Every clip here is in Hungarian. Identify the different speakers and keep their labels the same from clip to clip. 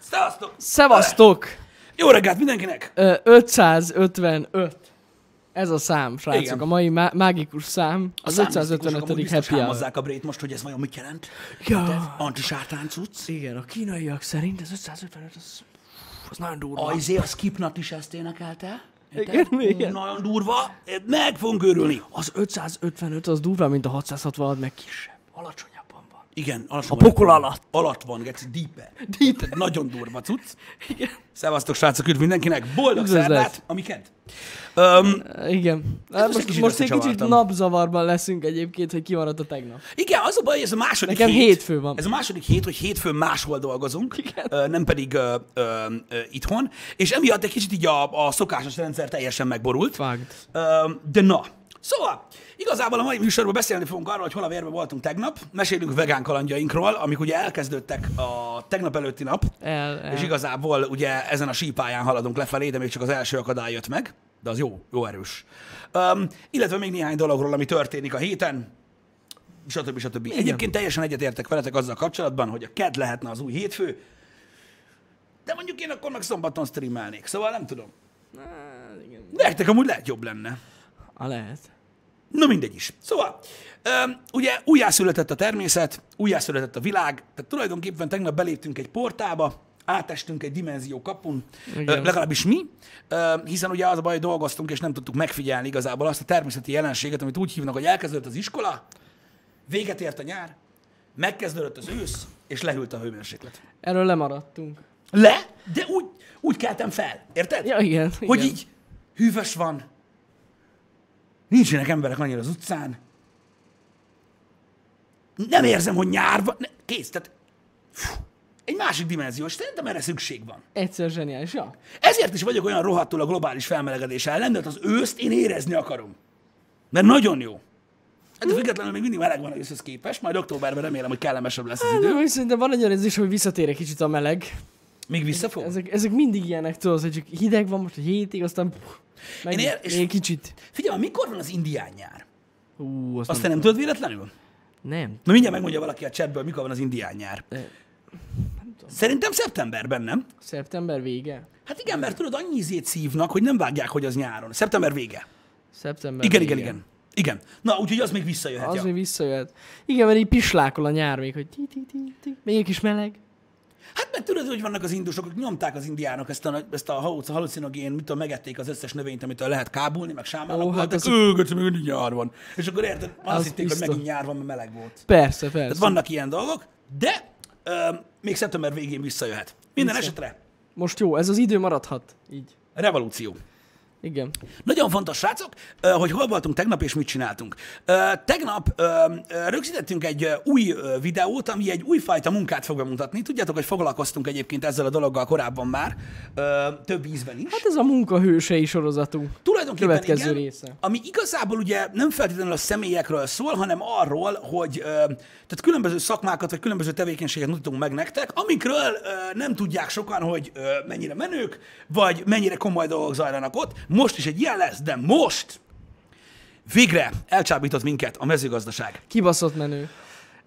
Speaker 1: Szevasztok!
Speaker 2: Szevasztok!
Speaker 1: Jó reggelt mindenkinek!
Speaker 2: Ö, 555. Ez a szám, srácok,
Speaker 1: Igen.
Speaker 2: a mai má- mágikus szám. Az
Speaker 1: számmisztikusok amúgy
Speaker 2: 555.
Speaker 1: biztos
Speaker 2: happy hour.
Speaker 1: hámozzák a brét most, hogy ez vajon mit jelent.
Speaker 2: Ja.
Speaker 1: Antisátán cucc.
Speaker 2: Igen, a kínaiak szerint az 555 az, az nagyon durva.
Speaker 1: Ajzé, a Skipnat is ezt énekelte. Érted?
Speaker 2: Igen, igen.
Speaker 1: Nagyon durva. Meg fogunk őrülni.
Speaker 2: Mm, Az 555 az durva, mint a 666, meg kisebb. Alacsonyabban van.
Speaker 1: Igen,
Speaker 2: A pokol alatt.
Speaker 1: Alatt van, geci, deeper. Deeper. Nagyon durva cucc. Igen. Szevasztok, srácok, üdv mindenkinek. Boldog
Speaker 2: Üdvözlet.
Speaker 1: szerdát, amiket. Um,
Speaker 2: Ö, Igen. Hát
Speaker 1: most egy
Speaker 2: most,
Speaker 1: kicsit
Speaker 2: most egy kicsit
Speaker 1: összecsavartam.
Speaker 2: napzavarban leszünk egyébként, hogy kimaradt a tegnap.
Speaker 1: Igen, az a baj, ez a második
Speaker 2: Nekem
Speaker 1: hét.
Speaker 2: hétfő van.
Speaker 1: Ez a második hét, hogy hétfőn máshol dolgozunk, ö, nem pedig ö, ö, ö, itthon, és emiatt egy kicsit így a, a szokásos rendszer teljesen megborult.
Speaker 2: Vágd.
Speaker 1: Ö, de na. Szóval, igazából a mai műsorban beszélni fogunk arról, hogy hol a vérbe voltunk tegnap, mesélünk vegán kalandjainkról, amik ugye elkezdődtek a tegnap előtti nap,
Speaker 2: El, el.
Speaker 1: és igazából ugye ezen a sípáján haladunk lefelé, de még csak az első akadály jött meg, de az jó, jó erős. Um, illetve még néhány dologról, ami történik a héten, stb. stb. Egyébként teljesen egyetértek veletek azzal kapcsolatban, hogy a KED lehetne az új hétfő, de mondjuk én akkor meg szombaton streamelnék, szóval nem tudom.
Speaker 2: Hát, igen.
Speaker 1: Nektek amúgy lehet jobb lenne.
Speaker 2: A lehet.
Speaker 1: Na mindegy is. Szóval, öm, ugye újjászületett a természet, újjászületett a világ, tehát tulajdonképpen tegnap beléptünk egy portába, átestünk egy dimenzió kapun, ö,
Speaker 2: Igen.
Speaker 1: legalábbis mi, ö, hiszen ugye az a baj, hogy dolgoztunk, és nem tudtuk megfigyelni igazából azt a természeti jelenséget, amit úgy hívnak, hogy elkezdődött az iskola, véget ért a nyár, megkezdődött az ősz, és lehűlt a hőmérséklet.
Speaker 2: Erről lemaradtunk.
Speaker 1: Le, de úgy, úgy keltem fel, érted?
Speaker 2: Ja, igen.
Speaker 1: Hogy
Speaker 2: igen.
Speaker 1: így hűvös van, nincsenek emberek annyira az utcán, nem érzem, hogy nyár van, ne, kész, tehát fú, egy másik dimenzió, és szerintem erre szükség van.
Speaker 2: Egyszer zseniális, ja.
Speaker 1: Ezért is vagyok olyan rohadtul a globális felmelegedés ellen, mert az őszt én érezni akarom. Mert nagyon jó. Hát függetlenül még mindig meleg van egészhez képest, majd októberben remélem, hogy kellemesebb lesz az idő.
Speaker 2: Nem, Hát, szerintem van egy olyan érzés, hogy visszatér egy kicsit a meleg.
Speaker 1: Még visszafog?
Speaker 2: Ezek, ezek mindig ilyenek, tudod, hogy csak hideg van most egy hétig, aztán puh, meg
Speaker 1: Én ér- és-
Speaker 2: még kicsit.
Speaker 1: Figyelj, mikor van az indián nyár?
Speaker 2: Ú, azt
Speaker 1: Azt te nem tudod véletlenül?
Speaker 2: nem.
Speaker 1: Na mindjárt megmondja valaki a chatből, mikor van az indián nyár.
Speaker 2: Ö,
Speaker 1: Szerintem szeptemberben, nem?
Speaker 2: Szeptember vége?
Speaker 1: Hát igen, mert tudod, annyi ízét szívnak, hogy nem vágják, hogy az nyáron. Szeptember vége.
Speaker 2: Szeptember
Speaker 1: Igen,
Speaker 2: vége.
Speaker 1: igen, igen. Igen. Na, úgyhogy az még visszajöhet.
Speaker 2: Az
Speaker 1: ja.
Speaker 2: még visszajöhet. Igen, mert így pislákol a nyár még, hogy ti, ti, ti, ti. még egy kis meleg.
Speaker 1: Hát mert tudod, hogy vannak az indusok, akik nyomták az indiánok ezt a, ezt a hauc- halucinogén, mit tudom, megették az összes növényt, amitől lehet kábulni, meg sámálok
Speaker 2: Ó,
Speaker 1: oh,
Speaker 2: hát
Speaker 1: voltak,
Speaker 2: az-
Speaker 1: hát ő, göcsö, még mindig nyár van. És akkor érted, azt
Speaker 2: Az
Speaker 1: hitték, hogy
Speaker 2: biztos.
Speaker 1: megint nyár van, mert meleg volt.
Speaker 2: Persze, persze.
Speaker 1: Tehát vannak ilyen dolgok, de ö, még szeptember végén visszajöhet. Minden
Speaker 2: Vissza.
Speaker 1: esetre
Speaker 2: Most jó, ez az idő maradhat. Így.
Speaker 1: revolúció.
Speaker 2: Igen.
Speaker 1: Nagyon fontos, srácok, ö, hogy hol voltunk tegnap és mit csináltunk. Ö, Tegnap ö, ö, rögzítettünk egy ö, új ö, videót, ami egy újfajta munkát fog bemutatni. Tudjátok, hogy foglalkoztunk egyébként ezzel a dologgal korábban már, ö, több ízben is.
Speaker 2: Hát ez a munkahősei sorozatunk.
Speaker 1: Tulajdonképpen
Speaker 2: következő
Speaker 1: igen,
Speaker 2: része.
Speaker 1: ami igazából ugye nem feltétlenül a személyekről szól, hanem arról, hogy ö, tehát különböző szakmákat vagy különböző tevékenységet mutatunk meg nektek, amikről ö, nem tudják sokan, hogy ö, mennyire menők, vagy mennyire komoly dolgok zajlanak ott. Most is egy ilyen lesz, de most végre elcsábított minket a mezőgazdaság.
Speaker 2: Kibaszott menő.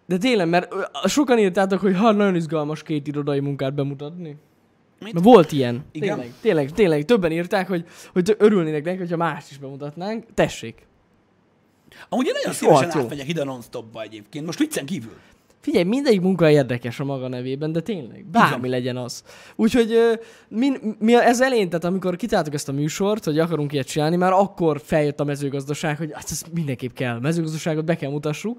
Speaker 2: De tényleg, mert ö, sokan írtátok, hogy ha nagyon izgalmas két irodai munkát bemutatni.
Speaker 1: Mit?
Speaker 2: Mert volt ilyen.
Speaker 1: Igen?
Speaker 2: Igen. Tényleg, tényleg, tényleg. Többen írták, hogy, hogy tö- örülnének neki, hogyha mást is bemutatnánk. Tessék.
Speaker 1: Amúgy én nagyon
Speaker 2: rohadt
Speaker 1: szívesen
Speaker 2: jó.
Speaker 1: átmegyek ide non stopba egyébként, most viccen kívül.
Speaker 2: Figyelj, mindegyik munka érdekes a maga nevében, de tényleg, bármi legyen az. Úgyhogy ö, min, mi a- ez elén, tehát amikor kitáltuk ezt a műsort, hogy akarunk ilyet csinálni, már akkor feljött a mezőgazdaság, hogy hát ez mindenképp kell, mezőgazdaságot be kell mutassuk,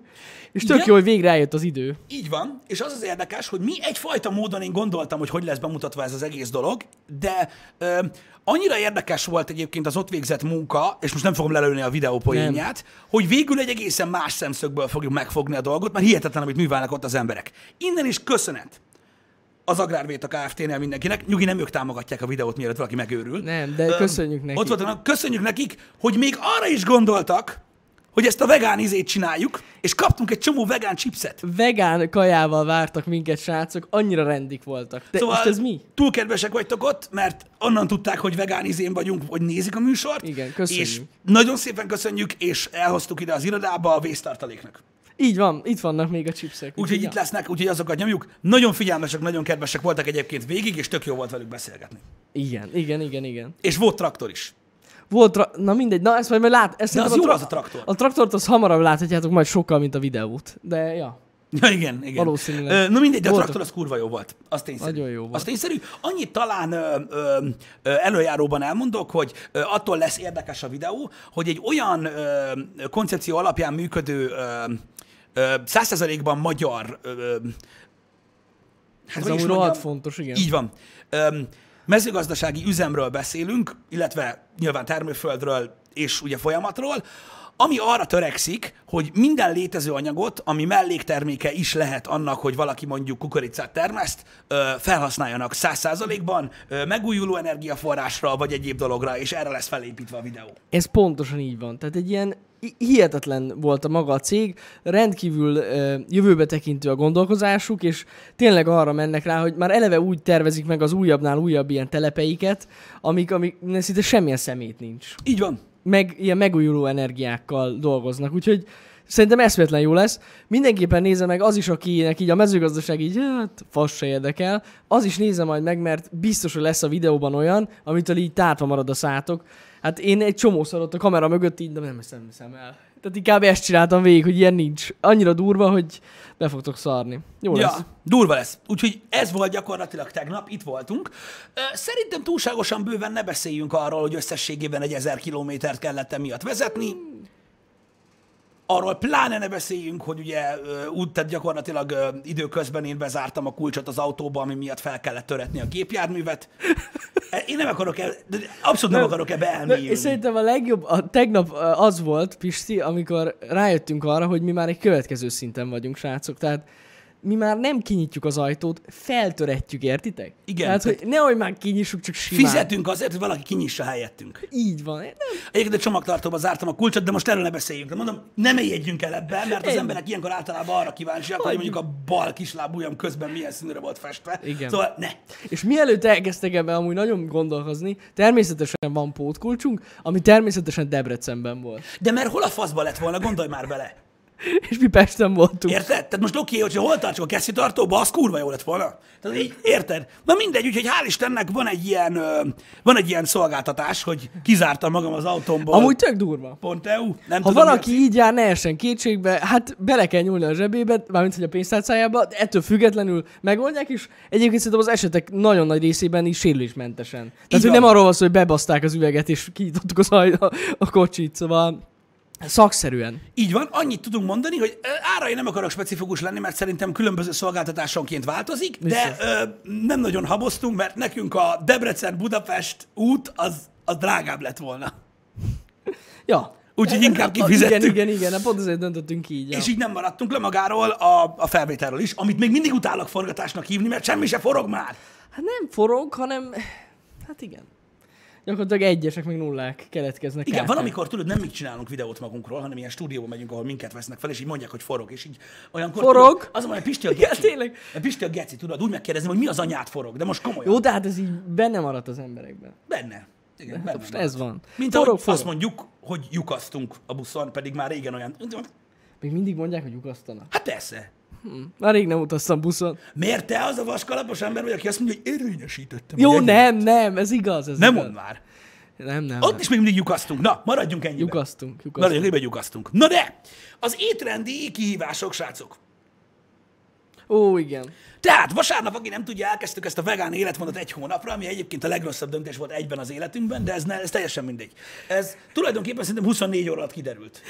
Speaker 2: és tök
Speaker 1: Igen?
Speaker 2: jó, hogy végre eljött az idő.
Speaker 1: Így van, és az az érdekes, hogy mi egyfajta módon én gondoltam, hogy hogy lesz bemutatva ez az egész dolog, de ö, annyira érdekes volt egyébként az ott végzett munka, és most nem fogom lelőni a videó poénját, hogy végül egy egészen más szemszögből fogjuk megfogni a dolgot, mert hihetetlen, amit művelnek ott az emberek. Innen is köszönet az Agrárvéta Kft-nél mindenkinek. Nyugi, nem ők támogatják a videót, mielőtt valaki megőrül.
Speaker 2: Nem, de köszönjük nekik.
Speaker 1: Ott voltanak, köszönjük nekik, hogy még arra is gondoltak, hogy ezt a vegán izét csináljuk, és kaptunk egy csomó vegán chipset.
Speaker 2: Vegán kajával vártak minket, srácok, annyira rendik voltak. De szóval... most ez mi?
Speaker 1: Túl kedvesek vagytok ott, mert onnan tudták, hogy vegán izén vagyunk, hogy nézik a műsort.
Speaker 2: Igen, köszönjük.
Speaker 1: És nagyon szépen köszönjük, és elhoztuk ide az irodába a vésztartaléknak.
Speaker 2: Így van, itt vannak még a chipsek.
Speaker 1: Úgyhogy itt
Speaker 2: ja.
Speaker 1: lesznek, úgyhogy azokat nyomjuk. Nagyon figyelmesek, nagyon kedvesek voltak egyébként végig, és tök jó volt velük beszélgetni.
Speaker 2: Igen, igen, igen, igen.
Speaker 1: És volt traktor is.
Speaker 2: Volt, tra- na mindegy, na ezt majd, majd lát, ezt
Speaker 1: De az
Speaker 2: szerintem
Speaker 1: jó
Speaker 2: tra-
Speaker 1: az a traktor.
Speaker 2: A traktort az hamarabb láthatjátok majd sokkal, mint a videót. De ja,
Speaker 1: Ja, igen, igen.
Speaker 2: Valószínűleg.
Speaker 1: Ö, Na mindegy, de a
Speaker 2: Voltak.
Speaker 1: traktor az kurva jó volt. Az tényszerű.
Speaker 2: Nagyon jó volt.
Speaker 1: Az tényszerű. Annyit talán ö, ö, ö, előjáróban elmondok, hogy ö, attól lesz érdekes a videó, hogy egy olyan ö, koncepció alapján működő százszerzalékban magyar ö, ö, hát hogy
Speaker 2: ez
Speaker 1: is
Speaker 2: amúgy
Speaker 1: mondjam,
Speaker 2: rohadt fontos, igen.
Speaker 1: Így van. Öm, mezőgazdasági üzemről beszélünk, illetve nyilván termőföldről és ugye folyamatról, ami arra törekszik, hogy minden létező anyagot, ami mellékterméke is lehet annak, hogy valaki mondjuk kukoricát termeszt, ö, felhasználjanak száz százalékban ö, megújuló energiaforrásra, vagy egyéb dologra, és erre lesz felépítve a videó.
Speaker 2: Ez pontosan így van. Tehát egy ilyen hi- hihetetlen volt a maga a cég, rendkívül ö, jövőbe tekintő a gondolkozásuk, és tényleg arra mennek rá, hogy már eleve úgy tervezik meg az újabbnál újabb ilyen telepeiket, amik, amik ne- szinte semmilyen szemét nincs.
Speaker 1: Így van.
Speaker 2: Meg ilyen megújuló energiákkal dolgoznak, úgyhogy szerintem eszméletlen jó lesz. Mindenképpen nézze meg az is, akinek így a mezőgazdaság így, hát, fasz se érdekel, az is nézze majd meg, mert biztos, hogy lesz a videóban olyan, amitől így tátva marad a szátok. Hát én egy csomószor ott a kamera mögött így, de nem hiszem, nem hiszem el. Tehát inkább ezt csináltam végig, hogy ilyen nincs. Annyira durva, hogy be fogtok szarni. Jó
Speaker 1: Ja,
Speaker 2: lesz.
Speaker 1: durva lesz. Úgyhogy ez volt gyakorlatilag tegnap, itt voltunk. Ö, Szerintem túlságosan bőven ne beszéljünk arról, hogy összességében egy ezer kilométert kellett emiatt vezetni. Arról pláne ne beszéljünk, hogy ugye ö, úgy, tehát gyakorlatilag ö, időközben én bezártam a kulcsot az autóba, ami miatt fel kellett töretni a gépjárművet. E- Én nem akarok, el, de abszolút nem, akarok ebbe
Speaker 2: Na,
Speaker 1: elmélyülni.
Speaker 2: és szerintem a legjobb, a, tegnap ö, az volt, Pisti, amikor rájöttünk arra, hogy mi már egy következő szinten vagyunk, srácok. Tehát mi már nem kinyitjuk az ajtót, feltöretjük, értitek?
Speaker 1: Igen,
Speaker 2: Tehát,
Speaker 1: tehát-
Speaker 2: hogy nehogy már kinyissuk, csak simán.
Speaker 1: Fizetünk azért, hogy valaki kinyissa helyettünk.
Speaker 2: Így van. Nem,
Speaker 1: Egyébként a csomagtartóba zártam a kulcsot, de most erről ne beszéljünk. De mondom, ne mélyedjünk el ebben, mert az
Speaker 2: Ennyi.
Speaker 1: emberek ilyenkor általában arra kíváncsiak, hogy mondjuk a bal kislábújam közben milyen színre volt festve.
Speaker 2: Igen.
Speaker 1: Szóval ne.
Speaker 2: És mielőtt elkezdtek ebben amúgy nagyon gondolkozni, természetesen van pótkulcsunk, ami természetesen Debrecenben volt.
Speaker 1: De mert hol a faszba lett volna, gondolj már bele.
Speaker 2: És mi Pesten voltunk.
Speaker 1: Érted? Tehát most oké, hogyha hol tartsuk a kesztyűtartóba, az kurva jó lett volna. Tehát így, érted? Na mindegy, úgyhogy hál' Istennek van egy ilyen, ö, van egy ilyen szolgáltatás, hogy kizártam magam az autómból.
Speaker 2: Amúgy tök durva.
Speaker 1: Pont EU. Nem
Speaker 2: Ha
Speaker 1: tudom, mi a
Speaker 2: valaki így jár, ne essen kétségbe, hát bele kell nyúlni a zsebébe, mármint hogy a pénztárcájába, de ettől függetlenül megoldják is. Egyébként szerintem az esetek nagyon nagy részében is sérülésmentesen. Tehát,
Speaker 1: Így
Speaker 2: hogy
Speaker 1: van.
Speaker 2: nem arról van szó, hogy bebaszták az üveget és kinyitottuk az aj- a, a kocsit, szóval szakszerűen.
Speaker 1: Így van, annyit tudunk mondani, hogy ö, ára én nem akarok specifikus lenni, mert szerintem különböző szolgáltatásonként változik, de ö, nem nagyon haboztunk, mert nekünk a Debrecen-Budapest út az, az drágább lett volna.
Speaker 2: Ja.
Speaker 1: Úgyhogy inkább
Speaker 2: A-
Speaker 1: kifizettük.
Speaker 2: Igen, igen, igen, hát pont azért döntöttünk így. Ja.
Speaker 1: És így nem maradtunk le magáról a, a felvételről is, amit még mindig utálok forgatásnak hívni, mert semmi se forog már.
Speaker 2: Hát nem forog, hanem... Hát igen. Gyakorlatilag egyesek meg nullák keletkeznek.
Speaker 1: Igen,
Speaker 2: kártán.
Speaker 1: van, amikor tudod, nem mi csinálunk videót magunkról, hanem ilyen stúdióba megyünk, ahol minket vesznek fel, és így mondják, hogy forog, és így olyankor...
Speaker 2: Forog?
Speaker 1: Tudod, az a Pisti a
Speaker 2: Igen,
Speaker 1: geci.
Speaker 2: tényleg.
Speaker 1: A Pisti a geci, tudod, úgy megkérdezni, hogy mi az anyát forog, de most komolyan.
Speaker 2: Jó, de hát ez így benne maradt az emberekben.
Speaker 1: Benne. Igen,
Speaker 2: Hát
Speaker 1: benne
Speaker 2: most
Speaker 1: maradt.
Speaker 2: ez van.
Speaker 1: Mint
Speaker 2: Forog,
Speaker 1: ahogy
Speaker 2: forog.
Speaker 1: azt mondjuk, hogy lyukasztunk a buszon, pedig már régen olyan...
Speaker 2: Még mindig mondják, hogy lyukasztanak.
Speaker 1: Hát persze.
Speaker 2: Már rég nem utaztam buszon.
Speaker 1: Miért te az a vaskalapos ember vagy, aki azt mondja, hogy érvényesítettem?
Speaker 2: Jó,
Speaker 1: ugye?
Speaker 2: nem, nem, ez igaz. Ez
Speaker 1: Nem
Speaker 2: igaz.
Speaker 1: mond már.
Speaker 2: Nem, nem.
Speaker 1: Ott
Speaker 2: nem.
Speaker 1: is még mindig lyukasztunk. Na, maradjunk ennyiben.
Speaker 2: Lyukasztunk, lyukasztunk.
Speaker 1: Maradjunk ennyiben, lyukasztunk. Na de, az étrendi kihívások, srácok.
Speaker 2: Ó, igen.
Speaker 1: Tehát vasárnap, aki nem tudja, elkezdtük ezt a vegán életmódot egy hónapra, ami egyébként a legrosszabb döntés volt egyben az életünkben, de ez, ne, ez teljesen mindegy. Ez tulajdonképpen szerintem 24 óra alatt kiderült.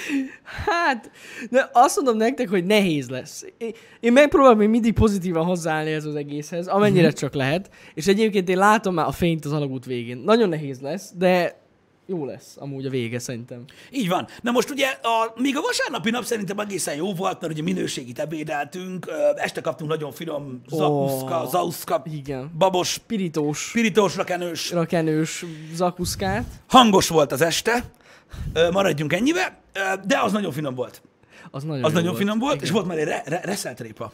Speaker 2: Hát, de azt mondom nektek, hogy nehéz lesz. Én- Én megpróbálom még mindig pozitívan hozzáállni ez az egészhez,
Speaker 1: Mhm.
Speaker 2: amennyire csak lehet. És egyébként én látom már a fényt az alagút végén. Nagyon nehéz lesz, de jó lesz amúgy a vége szerintem.
Speaker 1: Így van. Na most ugye, a, még a vasárnapi nap szerintem egészen jó volt, mert ugye minőségit ebédeltünk, ö, este kaptunk nagyon finom zauszka,
Speaker 2: Ó,
Speaker 1: zauszka,
Speaker 2: igen.
Speaker 1: babos,
Speaker 2: Pirítós,
Speaker 1: pirítós, rakenős.
Speaker 2: rakenős zakuszkát,
Speaker 1: Hangos volt az este, Ö, maradjunk ennyibe, Ö, de az nagyon finom volt.
Speaker 2: az nagyon
Speaker 1: Az
Speaker 2: jó
Speaker 1: nagyon
Speaker 2: volt.
Speaker 1: finom volt, és volt már egy re, re, reszelt répa.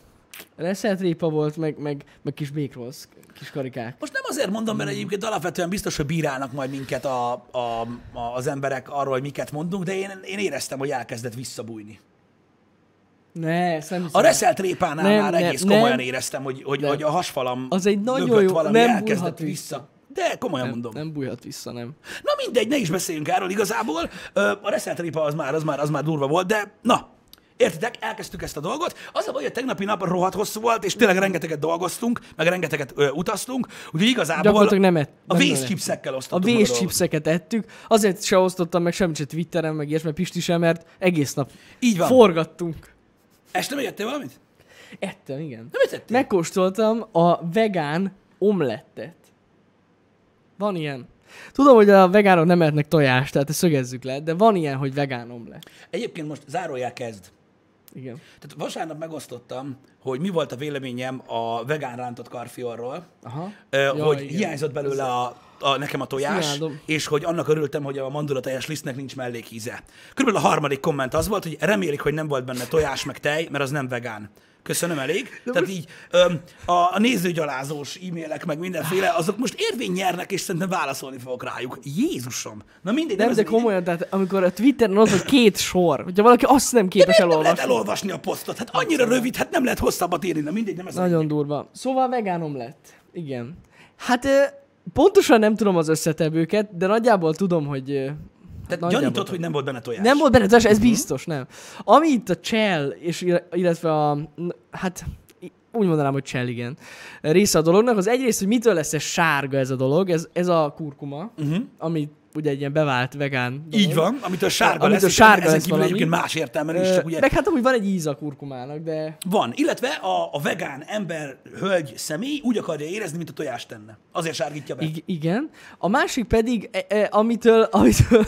Speaker 2: Reszelt répa volt, meg, meg, meg kis békrolsz, kis karikák.
Speaker 1: Most nem azért mondom,
Speaker 2: Mm.
Speaker 1: mert egyébként alapvetően biztos, hogy bírálnak majd minket a, a, a, az emberek arról, hogy miket mondunk, de én, én éreztem, hogy elkezdett visszabújni.
Speaker 2: Ne, ezt nem hiszem.
Speaker 1: A reszelt répánál
Speaker 2: Nem,
Speaker 1: nem, már
Speaker 2: nem,
Speaker 1: egész komolyan
Speaker 2: nem.
Speaker 1: éreztem, hogy, hogy,
Speaker 2: Nem.
Speaker 1: hogy a hasfalam
Speaker 2: Az egy nagyon
Speaker 1: mögött
Speaker 2: jó-
Speaker 1: valami
Speaker 2: nem
Speaker 1: elkezdett
Speaker 2: bújhat
Speaker 1: vissza. De komolyan
Speaker 2: nem,
Speaker 1: mondom.
Speaker 2: nem bújhat vissza, nem.
Speaker 1: Na mindegy, ne is beszéljünk erről igazából. Ö, A reszelt ripa az már, az már, az már durva volt, de na, Értitek, elkezdtük ezt a dolgot. Az a baj, hogy a tegnapi nap rohadt hosszú volt, és tényleg rengeteget dolgoztunk, meg rengeteget ö, utaztunk, úgyhogy igazából
Speaker 2: Gyakorlatilag nem ett.
Speaker 1: Hát a
Speaker 2: nem
Speaker 1: vészchipszekkel
Speaker 2: A
Speaker 1: osztottuk. meg dolgot.
Speaker 2: vészchipszeket ettük, azért se osztottam meg semmit se Twitteren, meg ilyesmi Pisti sem, mert egész nap
Speaker 1: Így van.
Speaker 2: forgattunk.
Speaker 1: Este megettél valamit?
Speaker 2: Ettem, igen.
Speaker 1: Nem ettettél?
Speaker 2: Megkóstoltam a vegán omlettet. Van ilyen. Tudom, hogy a vegánok nem ehetnek tojást, tehát ezt szögezzük le, de van ilyen, hogy vegán omlett.
Speaker 1: Egyébként most zárójá kezd.
Speaker 2: Igen.
Speaker 1: Tehát vasárnap megosztottam, hogy mi volt a véleményem a vegán rántott karfiorról,
Speaker 2: Aha.
Speaker 1: Ö,
Speaker 2: Ja,
Speaker 1: hogy
Speaker 2: igen.
Speaker 1: hiányzott belőle a, a, nekem a tojás,
Speaker 2: Imádom.
Speaker 1: és hogy annak örültem, hogy a mandula teljes lisztnek nincs mellékíze. Körülbelül a harmadik komment az volt, hogy remélik, hogy nem volt benne tojás meg tej, mert az nem vegán. Köszönöm elég. De Tehát így öm, a, a nézőgyalázós e-mailek, meg mindenféle,
Speaker 2: Ah.
Speaker 1: azok most érvény nyernek, és szerintem válaszolni fogok rájuk. Jézusom! Na mindegy,
Speaker 2: Nem,
Speaker 1: ez
Speaker 2: de
Speaker 1: a lényeg.
Speaker 2: komolyan, tehát amikor a Twitteren az, hogy két sor, hogyha valaki azt nem képes
Speaker 1: Nem lehet
Speaker 2: elolvasni.
Speaker 1: elolvasni a posztot. Hát annyira rövid, hát nem lehet hosszabbat írni, na mindegy, nem ez a
Speaker 2: Nagyon durva. Szóval vegánom lett. Igen. Hát ö, pontosan nem tudom az összetevőket, de nagyjából tudom, hogy... ö,
Speaker 1: Tehát
Speaker 2: nagyjából
Speaker 1: gyanított,
Speaker 2: tudom.
Speaker 1: hogy Mhm. nem volt benne tojás.
Speaker 2: Nem volt benne tojás, ez biztos, nem. Ami itt a csell, és il- illetve a, n- hát i- úgy mondanám, hogy csell, igen, része a dolognak, az egyrészt, hogy mitől lesz ez sárga ez a dolog, ez, ez a kurkuma, uh-huh. ami ugye egy ilyen bevált vegán dolog.
Speaker 1: Mhm. Így van, amitől sárga
Speaker 2: Amitől
Speaker 1: lesz, és
Speaker 2: sárga
Speaker 1: ezen
Speaker 2: lesz
Speaker 1: kívül
Speaker 2: valami.
Speaker 1: egyébként más értelmen is,
Speaker 2: Ö,
Speaker 1: csak ugye
Speaker 2: Meg hát amúgy van egy íz a kurkumának, de
Speaker 1: Van, illetve a, a vegán ember, hölgy, személy úgy akarja érezni, mint a tojást tenne. Azért sárgítja be.
Speaker 2: I- igen. A másik pedig, e- e, amitől, amitől,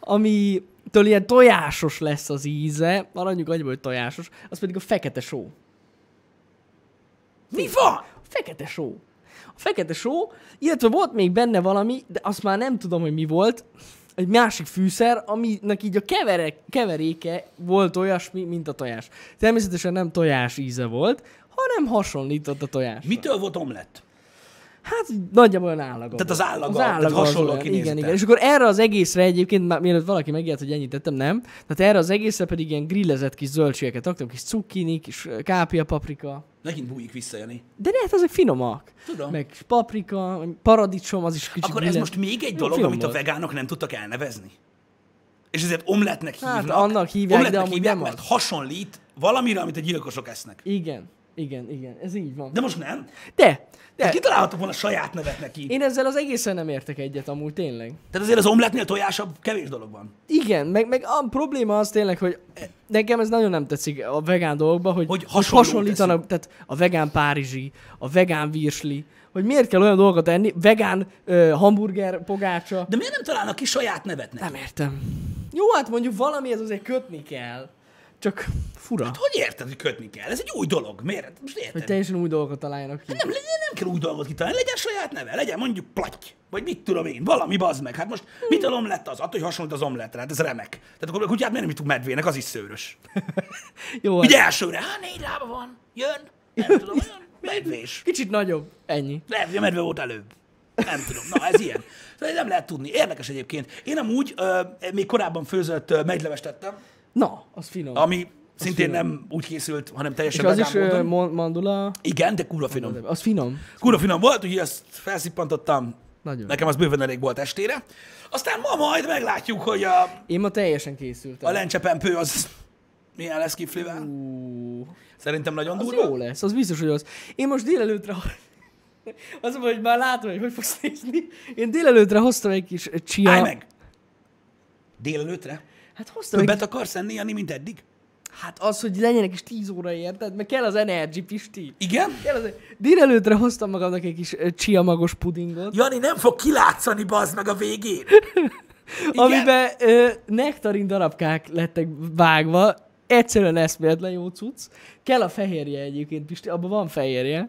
Speaker 2: amitől ilyen tojásos lesz az íze, maradjunk annyiból, hogy tojásos, az pedig a fekete só.
Speaker 1: Mi van?
Speaker 2: A fekete só. A fekete só, illetve volt még benne valami, de azt már nem tudom, hogy mi volt, egy másik fűszer, aminek így a keverek, keveréke volt olyasmi, mint a tojás. Természetesen nem tojás íze volt, hanem hasonlított a tojás.
Speaker 1: Mitől volt omlett?
Speaker 2: Hát nagyjából olyan állaga.
Speaker 1: Tehát az
Speaker 2: volt.
Speaker 1: állaga, tehát hasonló
Speaker 2: olyan.
Speaker 1: kinézete.
Speaker 2: Igen, igen. És akkor erre az egészre egyébként, már mielőtt valaki megijedt, hogy ennyit tettem, nem. Tehát erre az egészre pedig ilyen grillezett kis zöldségeket raktam, kis cukkini, kis ö, kápia, paprika.
Speaker 1: Megint bújik vissza, Jani.
Speaker 2: De lehet, ezek finomak.
Speaker 1: Tudom.
Speaker 2: Meg paprika, meg paradicsom, az is kicsit
Speaker 1: Akkor ez
Speaker 2: grillez-
Speaker 1: most még egy
Speaker 2: Jó,
Speaker 1: dolog,
Speaker 2: finom
Speaker 1: amit a
Speaker 2: volt.
Speaker 1: vegánok nem tudtak elnevezni. És ezért omletnek
Speaker 2: Hát,
Speaker 1: hívnak.
Speaker 2: annak hívják,
Speaker 1: omletnek
Speaker 2: de amúgy
Speaker 1: hívják,
Speaker 2: nem
Speaker 1: mert
Speaker 2: az.
Speaker 1: hasonlít valamire, amit a gyilkosok esznek.
Speaker 2: Igen, igen, igen. Ez így van.
Speaker 1: De most nem.
Speaker 2: De, de,
Speaker 1: Tehát kitalálhatok volna saját nevet neki.
Speaker 2: én ezzel az egészen nem értek egyet amúgy, tényleg.
Speaker 1: Tehát azért az omletnél tojásabb kevés dolog van.
Speaker 2: Igen, meg, meg a probléma az tényleg, hogy nekem ez nagyon nem tetszik a vegán dolgokban, hogy,
Speaker 1: Hogy
Speaker 2: hogy
Speaker 1: hasonló
Speaker 2: hasonlítanak, tehát a vegán párizsi, a vegán virsli, hogy miért kell olyan dolgokat enni, vegán ö, hamburger pogácsa.
Speaker 1: De miért nem találnak ki saját nevet neki?
Speaker 2: Nem értem. Jó, hát mondjuk valamihez azért kötni kell. Csak fura, hát,
Speaker 1: Hogy érted, hogy kötni kell? Ez egy új dolog. Miért? Hát, Most érted?
Speaker 2: hogy teljesen új dolgokat találjanak ki.
Speaker 1: Nem, le- nem kell új dolgot kitalálni, legyen saját neve, legyen mondjuk platy, vagy mit tudom én, valami bazd meg. Hát most
Speaker 2: Hmm.
Speaker 1: mitől omlett az? Attól, hogy hasonlít az omlettre, hát ez remek. Tehát akkor a kutyát miért nem jutunk medvének, az is szőrös.
Speaker 2: Jó, hát,
Speaker 1: Ugye elsőre, hát négy lába van, jön, nem tudom, jön, medvés.
Speaker 2: kicsit nagyobb, ennyi.
Speaker 1: Lehet, hogy a medve volt előbb. Nem tudom, na ez ilyen. Szóval nem lehet tudni. Érdekes egyébként. Én amúgy ö, még korábban főzött ö, megylevest tettem,
Speaker 2: Na, az finom.
Speaker 1: ami szintén nem úgy készült, hanem
Speaker 2: És
Speaker 1: teljesen
Speaker 2: az
Speaker 1: vegán
Speaker 2: is ö,
Speaker 1: módon.
Speaker 2: mon- mandula,
Speaker 1: Igen, de kurva finom.
Speaker 2: az finom.
Speaker 1: Kurva finom volt, úgyhogy ezt felszippantottam.
Speaker 2: Nagyon.
Speaker 1: Nekem az bőven elég volt estére. Aztán ma majd meglátjuk, hogy a,
Speaker 2: Én ma teljesen
Speaker 1: a
Speaker 2: készültem.
Speaker 1: lencsepempő az milyen lesz kiflivel.
Speaker 2: Ú.
Speaker 1: Szerintem nagyon
Speaker 2: Az
Speaker 1: durva.
Speaker 2: jó lesz, az biztos, hogy az. Én most délelőtre... Az a baj, hogy már látom, hogy hogy fogsz nézni. Én délelőtre hoztam egy kis csia...
Speaker 1: Állj meg! Délelőtre?
Speaker 2: Hát hoztam egy...
Speaker 1: Többet akarsz enni, Jani, mint eddig?
Speaker 2: Hát az, hogy legyenek is 10 óra érted, mert kell az energy, Pisti.
Speaker 1: Igen?
Speaker 2: Kell az... Délelőtre hoztam magamnak egy kis ö, csia magos pudingot,
Speaker 1: Jani nem fog kilátszani, bazd meg a végén. Igen.
Speaker 2: amiben ö, nektarin darabkák lettek vágva, egyszerűen eszméletlen jó cucc. Kell a fehérje egyébként, Pisti, abban van fehérje.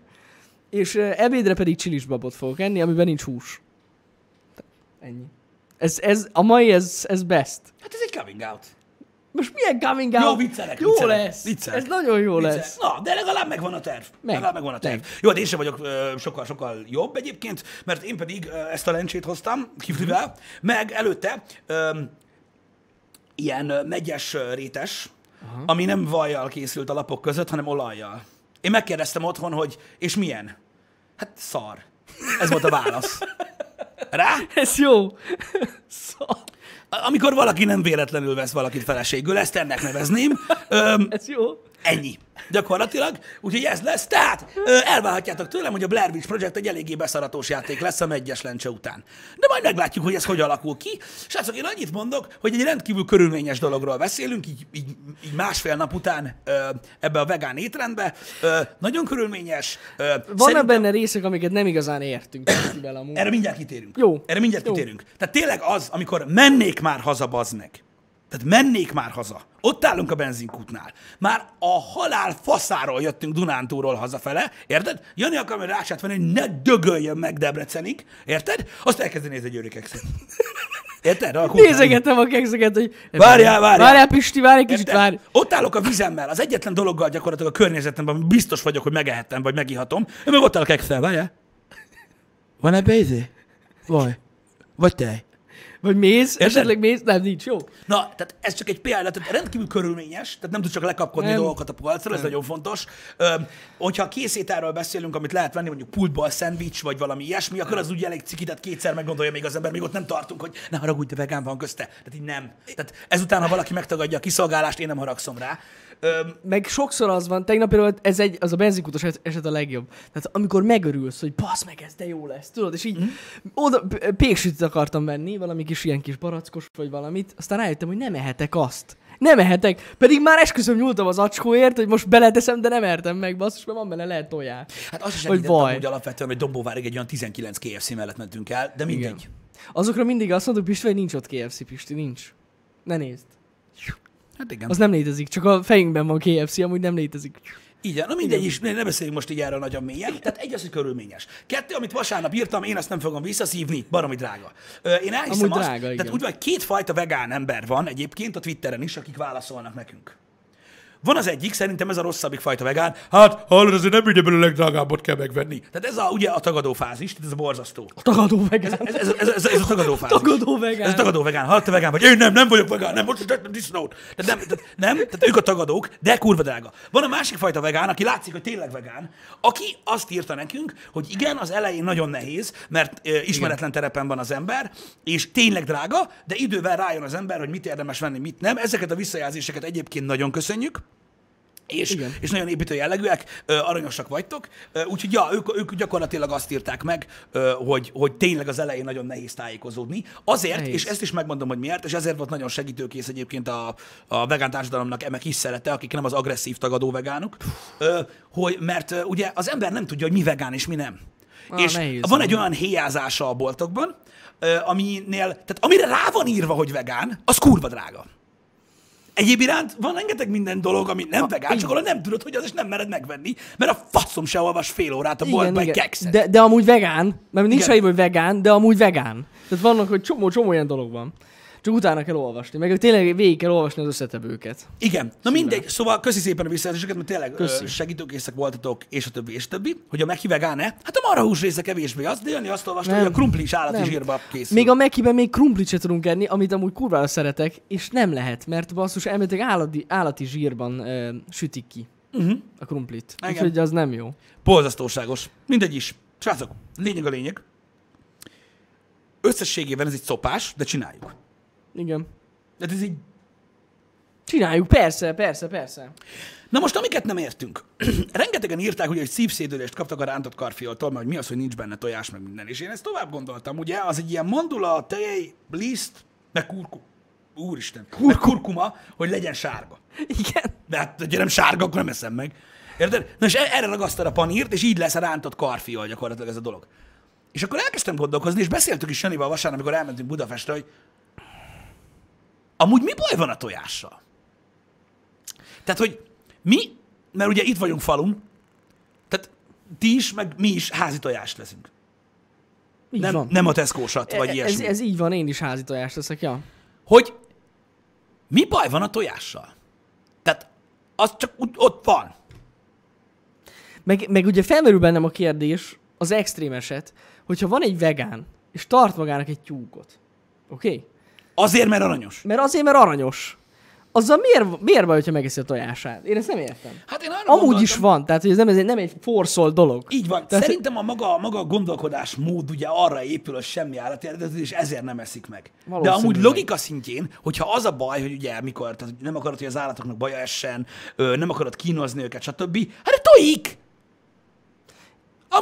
Speaker 2: És ö, ebédre pedig csilisbabot fogok enni, amiben nincs hús. Ennyi. Ez, ez, a mai ez, ez best.
Speaker 1: Hát ez egy coming out.
Speaker 2: Most milyen coming out?
Speaker 1: Jó, viccelek,
Speaker 2: Jó
Speaker 1: viccelek,
Speaker 2: lesz.
Speaker 1: viccelek.
Speaker 2: Ez nagyon jó
Speaker 1: Vicces.
Speaker 2: lesz.
Speaker 1: Na, de legalább megvan a terv.
Speaker 2: Meg.
Speaker 1: legalább megvan a terv.
Speaker 2: Meg.
Speaker 1: Jó, de én sem vagyok ö, sokkal-sokkal jobb egyébként, mert én pedig ö, ezt a lencsét hoztam
Speaker 2: Mhm.
Speaker 1: kiflivel, meg előtte ö, ilyen ö, megyes ö, rétes, Aha. ami nem vajjal készült a lapok között, hanem olajjal. Én megkérdeztem otthon, hogy és milyen? Hát szar. Ez volt a válasz. Rá?
Speaker 2: Ez jó. Szar.
Speaker 1: A- Amikor valaki nem véletlenül vesz valakit feleségül, ezt ennek nevezném. Öm,
Speaker 2: Ez jó.
Speaker 1: Ennyi. Gyakorlatilag. Úgyhogy ez lesz. Tehát ö, elválhatjátok tőlem, hogy a Blair Witch Project egy eléggé beszaratós játék lesz a megyes lencse után. De majd meglátjuk, hogy ez hogy alakul ki. Srácok, én annyit mondok, hogy egy rendkívül körülményes dologról beszélünk, így, így, így másfél nap után ö, ebbe a vegán étrendbe. Ö, nagyon körülményes. Ö,
Speaker 2: Vannak
Speaker 1: szerintem-
Speaker 2: benne részek, amiket nem igazán értünk bele a
Speaker 1: erre mindjárt kitérünk.
Speaker 2: Jó.
Speaker 1: Erre mindjárt
Speaker 2: Jó.
Speaker 1: kitérünk. Tehát tényleg az, amikor mennék már haza, baznek. Tehát mennék már haza. Ott állunk a benzinkútnál. Már a halál faszáról jöttünk Dunántúról hazafele, érted? Jani akar majd rácsát venni, hogy ne dögöljön meg Debrecenig, érted? Azt elkezdi nézni egy őrikekszet. Érted? A kútnál.
Speaker 2: Nézegetem a kekszeket, hogy...
Speaker 1: Várjál, várjál.
Speaker 2: Várjál, Pisti, várj egy kicsit,
Speaker 1: Érted?
Speaker 2: várj.
Speaker 1: Ott állok a vizemmel, az egyetlen dologgal gyakorlatilag a környezetemben, amit biztos vagyok, hogy megehettem, vagy megihatom. Ő meg ott áll a kekszel, várjál. Van ebbe izé? Vaj. Vagy tej.
Speaker 2: Vagy mész,
Speaker 1: Érted?
Speaker 2: esetleg mész, nem, nincs, jó.
Speaker 1: Na, tehát ez csak egy példa, tehát rendkívül körülményes, tehát nem tud csak lekapkodni
Speaker 2: Nem.
Speaker 1: nem. dolgokat a polcról, ez nagyon fontos. Öm, hogyha készétáról beszélünk, amit lehet venni, mondjuk pultból szendvics, vagy valami ilyesmi, akkor az úgy elég ciki, tehát kétszer meggondolja még az ember, még ott nem tartunk, hogy ne haragudj, de vegán van közte. Tehát így nem. Tehát ezután, ha valaki megtagadja a kiszolgálást, én nem haragszom rá. Öm,
Speaker 2: Meg sokszor az van, tegnap például ez egy, az a benzinkutas es- eset a legjobb. Tehát amikor megörülsz, hogy basz meg ez, de jó lesz, tudod, és így
Speaker 1: Mhm.
Speaker 2: mm. oda p- péksütit akartam venni, valami kis ilyen kis barackos vagy valamit, aztán rájöttem, hogy nem ehetek azt. Nem ehetek, pedig már esküszöm nyúltam az acskóért, hogy most beleteszem, de nem ertem meg, basszus, mert van benne lehet tojá.
Speaker 1: Hát azt is
Speaker 2: Vagy
Speaker 1: említettem
Speaker 2: vaj.
Speaker 1: úgy alapvetően, hogy Dombóvárig egy olyan 19 KFC mellett mentünk el, de mindegy. Igen.
Speaker 2: Azokra mindig azt mondtuk, Pisti, hogy nincs ott KFC, Pisti, nincs. Ne nézd.
Speaker 1: Hát igen.
Speaker 2: Az nem létezik, csak a fejünkben van KFC, amúgy nem létezik.
Speaker 1: Igen, na mindegy is, ne ne beszéljünk most így erről nagyon mélyen. Tehát egy az, hogy körülményes. Kettő, amit vasárnap írtam, én azt nem fogom visszaszívni, baromi drága. Ö, Én elhiszem
Speaker 2: Amúgy
Speaker 1: azt,
Speaker 2: drága, igen.
Speaker 1: tehát úgy vagy kétfajta vegán ember van egyébként a Twitteren is, akik válaszolnak nekünk. Van az egyik, szerintem ez a rosszabbik fajta vegán. Hát, hallod, azért nem ugye belőle a legdrágábbat kell megvenni. Tehát ez a, ugye a tagadó fázis, tehát ez a borzasztó.
Speaker 2: A tagadó vegán.
Speaker 1: Ez, ez, ez, ez, ez a tagadó fázis.
Speaker 2: Tagadó vegán.
Speaker 1: Ez a tagadó vegán. Hallott te vegán vagy? Én nem, nem vagyok vegán, nem, most tettem disznót. Tehát nem, tehát nem, tehát ők a tagadók, de kurva drága. Van a másik fajta vegán, aki látszik, hogy tényleg vegán, aki azt írta nekünk, hogy igen, az elején nagyon nehéz, mert ö, ismeretlen terepen van az ember, és tényleg drága, de idővel rájön az ember, hogy mit érdemes venni, mit nem. Ezeket a visszajelzéseket egyébként nagyon köszönjük és,
Speaker 2: Igen.
Speaker 1: és nagyon építő jellegűek, ö, aranyosak vagytok. Ö, Úgyhogy ja, ők, ők gyakorlatilag azt írták meg, ö, hogy, hogy tényleg az elején nagyon nehéz tájékozódni. Azért,
Speaker 2: Nehéz.
Speaker 1: nehéz. és ezt is megmondom, hogy miért, és ezért volt nagyon segítőkész egyébként a, a vegán társadalomnak emek is szerete, akik nem az agresszív tagadó vegánok, ö, hogy, mert ö, ugye az ember nem tudja, hogy mi vegán és mi nem.
Speaker 2: Ah,
Speaker 1: és
Speaker 2: nehéz,
Speaker 1: van egy olyan héjázása a boltokban, ö, aminél, tehát amire rá van írva, hogy vegán, az kurva drága. Egyéb iránt van rengeteg minden dolog, ami
Speaker 2: Ah,
Speaker 1: nem vegán, csak arra nem tudod, hogy az is nem mered megvenni, mert a faszom se olvas fél órát a boltban egy kekszet.
Speaker 2: De, de amúgy vegán, mert nincs
Speaker 1: Igen.
Speaker 2: ráírva, hogy vegán, de amúgy vegán. Tehát vannak, hogy csomó-csomó ilyen dolog van. Csak utána kell olvasni, meg tényleg végig kell olvasni az összetevőket.
Speaker 1: Igen. Na mindegy, szóval köszi szépen a visszajelzéseket, mert tényleg
Speaker 2: Köszi.
Speaker 1: ö, segítőkészek voltatok, és a többi, és a többi. Hogy a meki vegán-e? Hát a marhahús része kevésbé az, de Jani azt olvasta, hogy a
Speaker 2: Nem.
Speaker 1: krumpli is állati
Speaker 2: Nem.
Speaker 1: zsírba készül.
Speaker 2: Még a Mekiben még krumplit se tudunk enni, amit amúgy kurvára szeretek, és nem lehet, mert basszus, elméletileg állati, állati zsírban ö, sütik ki uh-huh. a krumplit.
Speaker 1: Mhm. Igen.
Speaker 2: Úgyhogy az nem jó.
Speaker 1: Polzasztóságos. Mindegy is. Srácok, lényeg a lényeg. Összességében ez egy szopás, de csináljuk.
Speaker 2: Igen.
Speaker 1: De ez így
Speaker 2: Csináljuk, persze, persze, persze.
Speaker 1: Na most, amiket nem értünk. Rengetegen írták, ugye, hogy szívszédülést kaptak a rántott karfioltól, mert hogy mi az, hogy nincs benne tojás, meg minden. És én ezt tovább gondoltam, ugye, az egy ilyen mandula, tej, liszt, meg kurku. Úristen, meg kurkuma, hogy legyen sárga.
Speaker 2: Igen.
Speaker 1: De hát, hogyha nem sárga, akkor nem eszem meg. Érted? Na és e- erre ragasztod a panírt, és így lesz a rántott karfiol gyakorlatilag ez a dolog. És akkor elkezdtem gondolkozni, és beszéltük is Janival vasárnap, amikor elmentünk Budapestre, hogy amúgy mi baj van a tojással? Tehát, hogy mi, mert ugye itt vagyunk falun, tehát ti is, meg mi is házi tojást leszünk.
Speaker 2: Így
Speaker 1: Nem,
Speaker 2: van.
Speaker 1: nem a tesco vagy
Speaker 2: E- ez,
Speaker 1: ilyesmi.
Speaker 2: ez így van, én is házi tojást leszek, ja.
Speaker 1: hogy mi baj van a tojással? Tehát az csak úgy ott van.
Speaker 2: Meg, meg ugye felmerül bennem a kérdés, az extrém eset, hogyha van egy vegán, és tart magának egy tyúkot, oké? Okay?
Speaker 1: Azért, mert aranyos.
Speaker 2: Mert azért, mert aranyos. azzal miért, miért baj, hogyha megeszi a tojását? Én ezt nem értem.
Speaker 1: Hát én arra
Speaker 2: Amúgy is
Speaker 1: gondoltam-
Speaker 2: van, tehát hogy ez nem, ez egy, nem egy forszolt dolog.
Speaker 1: Így van.
Speaker 2: Tehát,
Speaker 1: Tehát Szerintem a maga, a maga a gondolkodás mód ugye arra épül, hogy semmi állati eredetű, és ezért nem eszik meg. De
Speaker 2: Valószínűleg.
Speaker 1: amúgy logika szintjén, hogyha az a baj, hogy ugye mikor tehát nem akarod, hogy az állatoknak baja essen, ö, nem akarod kínozni őket, stb., hát tojik!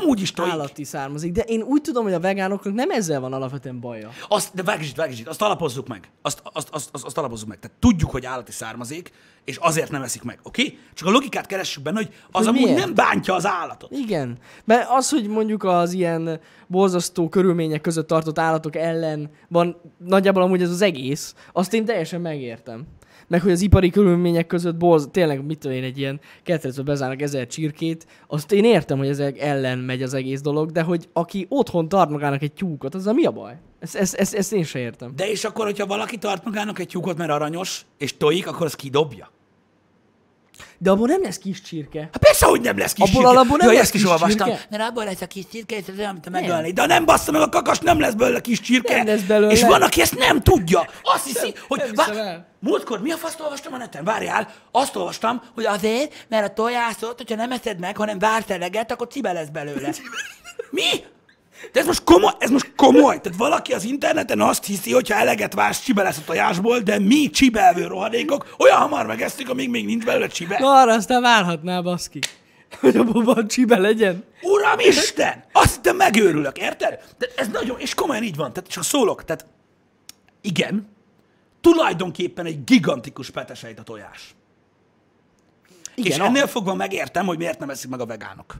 Speaker 1: Amúgy is tojik. Állat.
Speaker 2: állati származik, de én úgy tudom, hogy a vegánoknak nem ezzel van alapvetően baja.
Speaker 1: Azt, de vágj vágj azt alapozzuk meg. Azt, azt, azt, azt, azt alapozzuk meg. Tehát tudjuk, hogy állati származék, és azért nem eszik meg, oké? Okay? Csak a logikát keressük benne, hogy az
Speaker 2: Hogy
Speaker 1: amúgy
Speaker 2: miért?
Speaker 1: nem bántja az állatot.
Speaker 2: Igen, mert az, hogy mondjuk az ilyen borzasztó körülmények között tartott állatok ellen van nagyjából amúgy ez az egész, azt én teljesen megértem. Meg hogy az ipari körülmények között borz, tényleg mit tudom én, egy ilyen ketrecbe bezárnak ezer csirkét, azt én értem, hogy ezek ellen megy az egész dolog, de hogy aki otthon tart magának egy tyúkot, azzal mi a baj? Ezt, ezt, ezt, ezt én se értem.
Speaker 1: De és akkor, hogyha valaki tart magának egy tyúkot, mert aranyos, és tojik, akkor az kidobja.
Speaker 2: De abból nem lesz kis csirke.
Speaker 1: Hát persze, hogy nem lesz kis
Speaker 2: Abból
Speaker 1: csirke.
Speaker 2: alapból nem
Speaker 1: Jaj,
Speaker 2: lesz
Speaker 1: ezt is
Speaker 2: kis
Speaker 1: olvastam.
Speaker 2: csirke?
Speaker 1: Mert abból lesz a kis csirke, és ez olyan, mint a megölni. De ha nem bassza meg a kakas, nem lesz belőle kis csirke.
Speaker 2: Nem lesz belőle.
Speaker 1: És van, aki ezt nem tudja. Azt hiszi, hogy...
Speaker 2: nem
Speaker 1: vá-
Speaker 2: hiszem el.
Speaker 1: Múltkor mi a faszt olvastam a neten? Várjál, azt olvastam, hogy azért, mert a tojászot, hogyha nem eszed meg, hanem vársz eleget, akkor cibe lesz belőle. mi? De ez most komoly, ez most komoly. Tehát valaki az interneten azt hiszi, hogyha eleget vársz, csibe lesz a tojásból, de mi csibelvő rohadékok olyan hamar megesztük, amíg még nincs belőle csibe.
Speaker 2: Na arra aztán várhatná, baszki, hogy abból van csibe legyen.
Speaker 1: Uram Isten! Azt hittem megőrülök, érted? De ez nagyon, és komolyan így van, tehát csak szólok, tehát igen, tulajdonképpen egy gigantikus petesejt a tojás. Igen, és
Speaker 2: a-
Speaker 1: ennél fogva megértem, hogy miért nem eszik meg a vegánok.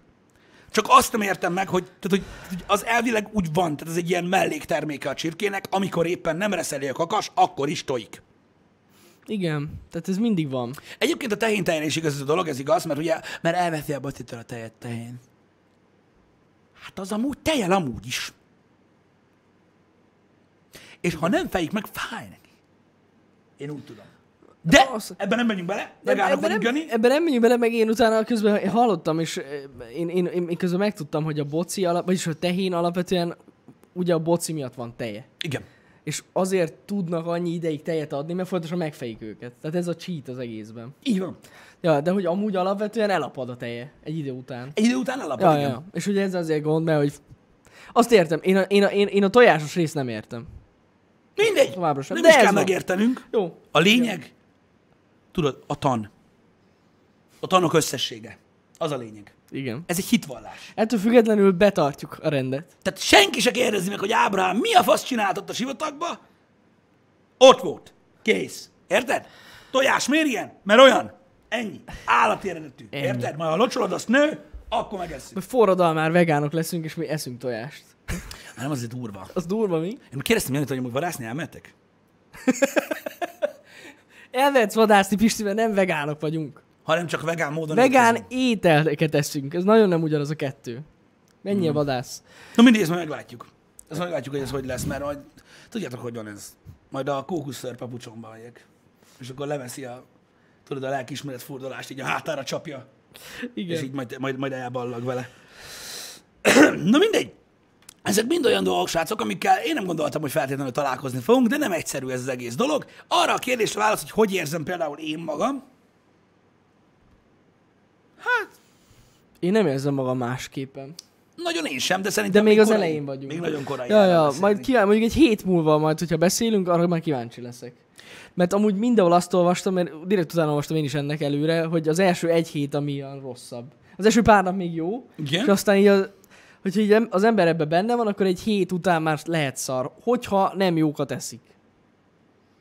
Speaker 1: Csak azt nem értem meg, hogy, tehát, hogy, hogy az elvileg úgy van, tehát ez egy ilyen mellékterméke a csirkének, amikor éppen nem reszeli a kakas, akkor is tojik.
Speaker 2: Igen, tehát ez mindig van.
Speaker 1: Egyébként a tehén tején is igaz ez a dolog, ez igaz, mert ugye, mert elveszi a bocitól a tejet tehén. Hát az amúgy tejel amúgy is. És ha nem fejik meg, fáj neki. Én úgy tudom. De
Speaker 2: Az-
Speaker 1: ebben nem megyünk bele, megállok
Speaker 2: Ebben
Speaker 1: vagyunk,
Speaker 2: nem,
Speaker 1: Jani.
Speaker 2: ebben nem menjünk bele, meg én utána közben én hallottam, és eh, én, én, én, én közben megtudtam, hogy a boci, alap, vagyis a tehén alapvetően ugye a boci miatt van teje.
Speaker 1: Igen.
Speaker 2: És azért tudnak annyi ideig tejet adni, mert fontosan megfejik őket. Tehát ez a cheat az egészben.
Speaker 1: Így van.
Speaker 2: Ja, de hogy amúgy alapvetően elapad a teje egy idő után.
Speaker 1: Egy idő után elapad,
Speaker 2: Ja,
Speaker 1: igen.
Speaker 2: ja. És ugye ez azért gond, mert hogy azt értem, én a, én, a, én, én a tojásos részt nem értem.
Speaker 1: Mindegy.
Speaker 2: Továbbra sem.
Speaker 1: Nem
Speaker 2: De
Speaker 1: is
Speaker 2: ez
Speaker 1: kell
Speaker 2: van.
Speaker 1: megértenünk.
Speaker 2: Jó.
Speaker 1: A lényeg, tudod, a tan. A tanok összessége. Az a lényeg.
Speaker 2: Igen.
Speaker 1: Ez egy hitvallás.
Speaker 2: Ettől függetlenül betartjuk a rendet.
Speaker 1: Tehát senki se kérdezi meg, hogy Ábrahám mi a fasz csinált ott a sivatagba? Ott volt. Kész. Érted? Tojás miért ilyen? Mert olyan. Ennyi. Állati eredetű. Érted? Majd ha locsolod, azt nő, akkor megesszük.
Speaker 2: Hogy forradalmár vegánok leszünk, és mi eszünk tojást.
Speaker 1: Hát nem azért durva.
Speaker 2: Az durva, mi?
Speaker 1: Én kérdeztem Janit, hogy amúgy vadászni elmentek?
Speaker 2: Elvetsz vadászni, Pisti, mert nem vegánok vagyunk.
Speaker 1: Hanem csak vegán módon.
Speaker 2: Vegán
Speaker 1: étkezünk.
Speaker 2: ételeket eszünk. Ez nagyon nem ugyanaz a kettő. Mennyi a vadász?
Speaker 1: Na mindig ezt majd meglátjuk. Ezt majd meglátjuk, hogy ez hogy lesz, mert majd... Tudjátok, hogy van ez. Majd a kókuszször papucsomba megyek. És akkor leveszi a... Tudod, a lelkiismeret furdalást, így a hátára csapja. és
Speaker 2: Igen.
Speaker 1: így majd, majd, majd elballag vele. Na mindegy. Ezek mind olyan dolgok, srácok, amikkel én nem gondoltam, hogy feltétlenül találkozni fogunk, de nem egyszerű ez az egész dolog. Arra a kérdésre válasz, hogy hogy érzem például én magam. Hát,
Speaker 2: Én nem érzem magam másképpen.
Speaker 1: nagyon én sem, de
Speaker 2: De
Speaker 1: szerintem...
Speaker 2: még az
Speaker 1: korai-
Speaker 2: elején vagyunk.
Speaker 1: Még nagyon korai.
Speaker 2: Ja,
Speaker 1: erre
Speaker 2: ja,
Speaker 1: beszélni.
Speaker 2: majd kíván, mondjuk egy hét múlva majd, hogyha beszélünk, arra már kíváncsi leszek. Mert amúgy mindenhol azt olvastam, mert direkt utána olvastam én is ennek előre, hogy az első egy hét ami ilyen rosszabb. Az első pár nap még jó,
Speaker 1: Igen.
Speaker 2: és aztán így az, hogyha így az ember ebbe benne van, akkor egy hét után már lehet szar, hogyha nem jókat eszik.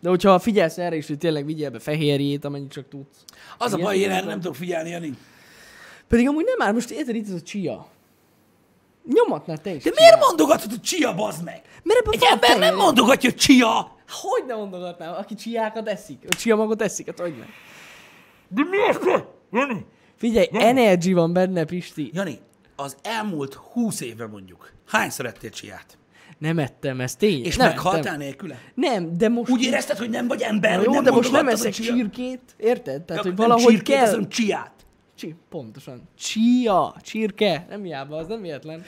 Speaker 2: De hogyha figyelsz erre is, hogy tényleg vigyél be fehérjét, amennyit csak tudsz.
Speaker 1: Az a
Speaker 2: Ilyen
Speaker 1: baj, én erre
Speaker 2: dolgokban.
Speaker 1: nem tudok figyelni, Jani.
Speaker 2: Pedig amúgy nem áll, most érted itt ez a csia. Nyomatnál te is.
Speaker 1: De
Speaker 2: csiát.
Speaker 1: miért mondogatod, hogy csia, bazd meg?
Speaker 2: Mert ebben
Speaker 1: Egy
Speaker 2: Hát van
Speaker 1: ember nem
Speaker 2: tej.
Speaker 1: mondogatja, hogy csia.
Speaker 2: Hogy ne mondogatnám, aki csiákat eszik, a csia magot eszik, hát hogy ne?
Speaker 1: De miért? Jani,
Speaker 2: Figyelj, energy van benne, Pisti.
Speaker 1: Jani, az elmúlt húsz évben mondjuk, hányszor ettél csiát?
Speaker 2: Nem ettem, ez tény.
Speaker 1: És
Speaker 2: nem
Speaker 1: meghaltál
Speaker 2: ettem.
Speaker 1: nélküle?
Speaker 2: Nem, de most...
Speaker 1: Úgy érezted, hogy nem vagy ember,
Speaker 2: Na
Speaker 1: hogy
Speaker 2: jó,
Speaker 1: nem
Speaker 2: de most nem
Speaker 1: mondogattad,
Speaker 2: eszek
Speaker 1: hogy
Speaker 2: csirkét, érted? Tehát,
Speaker 1: Akkor
Speaker 2: hogy
Speaker 1: nem
Speaker 2: valahogy
Speaker 1: csirkét, azt
Speaker 2: kell...
Speaker 1: mondom, csiát.
Speaker 2: Csi, pontosan. Csia, csirke, nem hiába, az nem véletlen.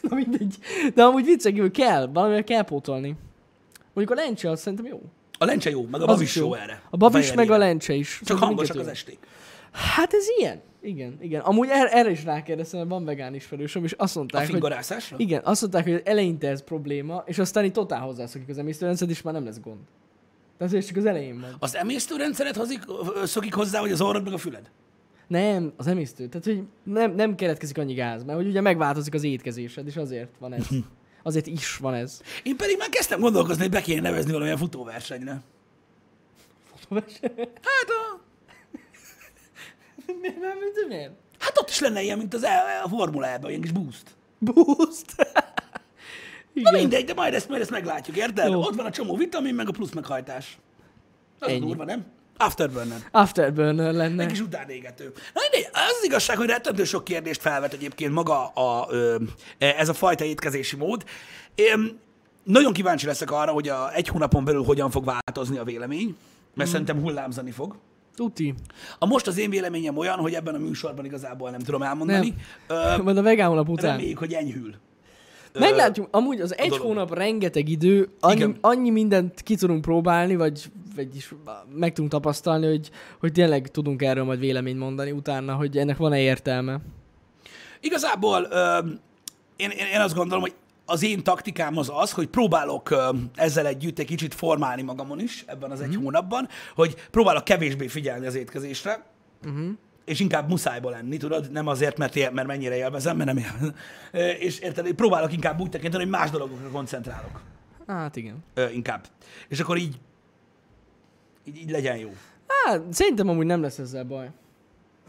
Speaker 2: Na mindegy. De amúgy viccen kívül kell, valamivel kell pótolni. Mondjuk a lencse, az szerintem jó.
Speaker 1: A A lencse jó, meg a
Speaker 2: Az
Speaker 1: babis
Speaker 2: is
Speaker 1: jó. erre.
Speaker 2: A babis
Speaker 1: Fejenére.
Speaker 2: meg a lencse is.
Speaker 1: Csak
Speaker 2: Szerintem
Speaker 1: hangosak az
Speaker 2: mindkettő.
Speaker 1: esték.
Speaker 2: Hát ez ilyen. Igen, igen. Amúgy er, erre is rákérdeztem, mert van vegán ismerősöm, és azt
Speaker 1: A
Speaker 2: mondták, hogy...
Speaker 1: fingarászásra?
Speaker 2: Igen, azt mondták, hogy eleinte ez probléma, és aztán itt totál hozzászokik az emésztőrendszer, és már nem lesz gond. Tehát ez csak az elején van.
Speaker 1: Az emésztőrendszeret hozik, ö, szokik hozzá, hogy az orrod meg a füled?
Speaker 2: Nem, az emésztő. Tehát, hogy nem, nem keletkezik annyi gáz, mert hogy ugye megváltozik az étkezésed, és azért van ez. Azért is van ez.
Speaker 1: Én pedig már kezdtem gondolkozni, hogy be kéne nevezni valamilyen futóversenyre. Hát, a,
Speaker 2: miért, nem, miért, miért?
Speaker 1: hát ott is lenne ilyen, mint az E- a formulában, ilyen kis boost.
Speaker 2: Boost!
Speaker 1: Na
Speaker 2: Igen.
Speaker 1: mindegy, de majd ezt, majd ezt meglátjuk, érted?
Speaker 2: Jó.
Speaker 1: Ott van a csomó vitamin, meg a plusz meghajtás. Az a
Speaker 2: Ennyi.
Speaker 1: durva, nem? Afterburner.
Speaker 2: Afterburner lenne.
Speaker 1: Egy kis utánégető. Na, mindegy, az, az igazság, hogy rettentő sok kérdést felvet egyébként maga a, ö, e, ez a fajta étkezési mód. Én nagyon kíváncsi leszek arra, hogy a, egy hónapon belül hogyan fog változni a vélemény, mert szerintem hullámzani fog.
Speaker 2: Tuti.
Speaker 1: A most az én véleményem olyan, hogy ebben a műsorban igazából nem tudom elmondani. Nem. Ö,
Speaker 2: Majd a vegán honlap után.
Speaker 1: reméljük, hogy enyhül.
Speaker 2: Meglátjuk, amúgy az egy
Speaker 1: dolog.
Speaker 2: hónap rengeteg idő, annyi,
Speaker 1: Igen.
Speaker 2: annyi mindent ki tudunk próbálni, vagy, vagy is meg tudunk tapasztalni, hogy, hogy tényleg tudunk erről majd véleményt mondani utána, hogy ennek van-e értelme.
Speaker 1: Igazából ö, én, én, én azt gondolom, hogy az én taktikám az az, hogy próbálok ö, ezzel együtt egy kicsit formálni magamon is ebben az egy hónapban, hogy próbálok kevésbé figyelni az étkezésre, Mhm. és inkább muszájba lenni, tudod? Nem azért, mert, él- mert mennyire élvezem, mert nem élvezem. Ö, És érted, hogy próbálok inkább úgy tekinteni, hogy más dolgokra koncentrálok.
Speaker 2: Hát igen.
Speaker 1: Ö, inkább. És akkor így, így, így legyen jó.
Speaker 2: Hát szerintem amúgy nem lesz ezzel baj.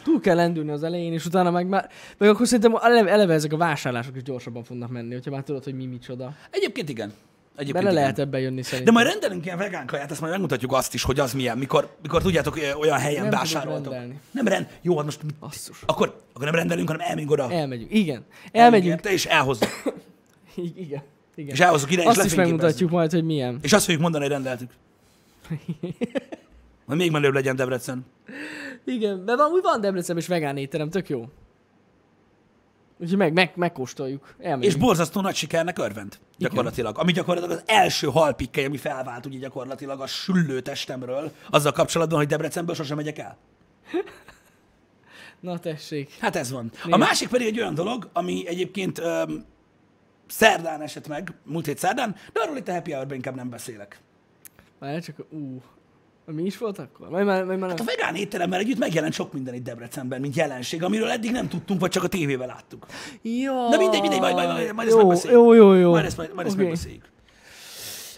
Speaker 2: Túl kell lendülni az elején, és utána meg már... Meg akkor szerintem eleve, eleve ezek a vásárlások is gyorsabban fognak menni, hogyha már tudod, hogy mi micsoda.
Speaker 1: Egyébként igen. Egyébként
Speaker 2: Bele
Speaker 1: igen.
Speaker 2: lehet ebben jönni
Speaker 1: De
Speaker 2: szerintem.
Speaker 1: majd rendelünk ilyen vegán kaját, ezt majd megmutatjuk azt is, hogy az milyen, mikor, mikor tudjátok, ö, olyan helyen
Speaker 2: Nem
Speaker 1: nem
Speaker 2: tudok
Speaker 1: vásároltok.
Speaker 2: rendelni.
Speaker 1: Nem rend... Jó, hát most mit-
Speaker 2: Basszus.
Speaker 1: akkor, akkor nem rendelünk, hanem elmegyünk oda.
Speaker 2: Elmegyünk. Igen. Elmegyünk.
Speaker 1: Te és elhozzuk.
Speaker 2: I- Igen. Igen.
Speaker 1: És elhozzuk ide, és
Speaker 2: Azt is
Speaker 1: lefényképezzük.
Speaker 2: megmutatjuk majd, hogy milyen.
Speaker 1: És azt fogjuk mondani, hogy rendeltük. Hogy még menőbb legyen Debrecen.
Speaker 2: Igen, de van, úgy van Debrecen és vegán étterem, tök jó. Úgyhogy meg, meg, megkóstoljuk. Elmegyünk.
Speaker 1: És borzasztó nagy sikernek örvend. Gyakorlatilag. Ami gyakorlatilag az első halpikkely, ami felvált ugye gyakorlatilag a süllő testemről, azzal kapcsolatban, hogy Debrecenből sosem megyek el.
Speaker 2: Na tessék.
Speaker 1: Hát ez van. A
Speaker 2: Igen.
Speaker 1: másik pedig egy olyan dolog, ami egyébként öm, szerdán esett meg, múlt hét szerdán, de arról itt a happy hour inkább nem beszélek.
Speaker 2: Már csak, ú. Mi is volt akkor? Majd már, majd már
Speaker 1: Hát A
Speaker 2: nem.
Speaker 1: vegán étteremmel együtt megjelent sok minden itt Debrecenben, mint jelenség, amiről eddig nem tudtunk, vagy csak a tévében láttuk.
Speaker 2: Ja.
Speaker 1: Na mindegy, mindegy, majd, majd, majd, majd ezt
Speaker 2: jó,
Speaker 1: megbeszéljük.
Speaker 2: jó, jó, jó.
Speaker 1: Majd ezt, majd, majd ezt
Speaker 2: Oké.
Speaker 1: megbeszéljük.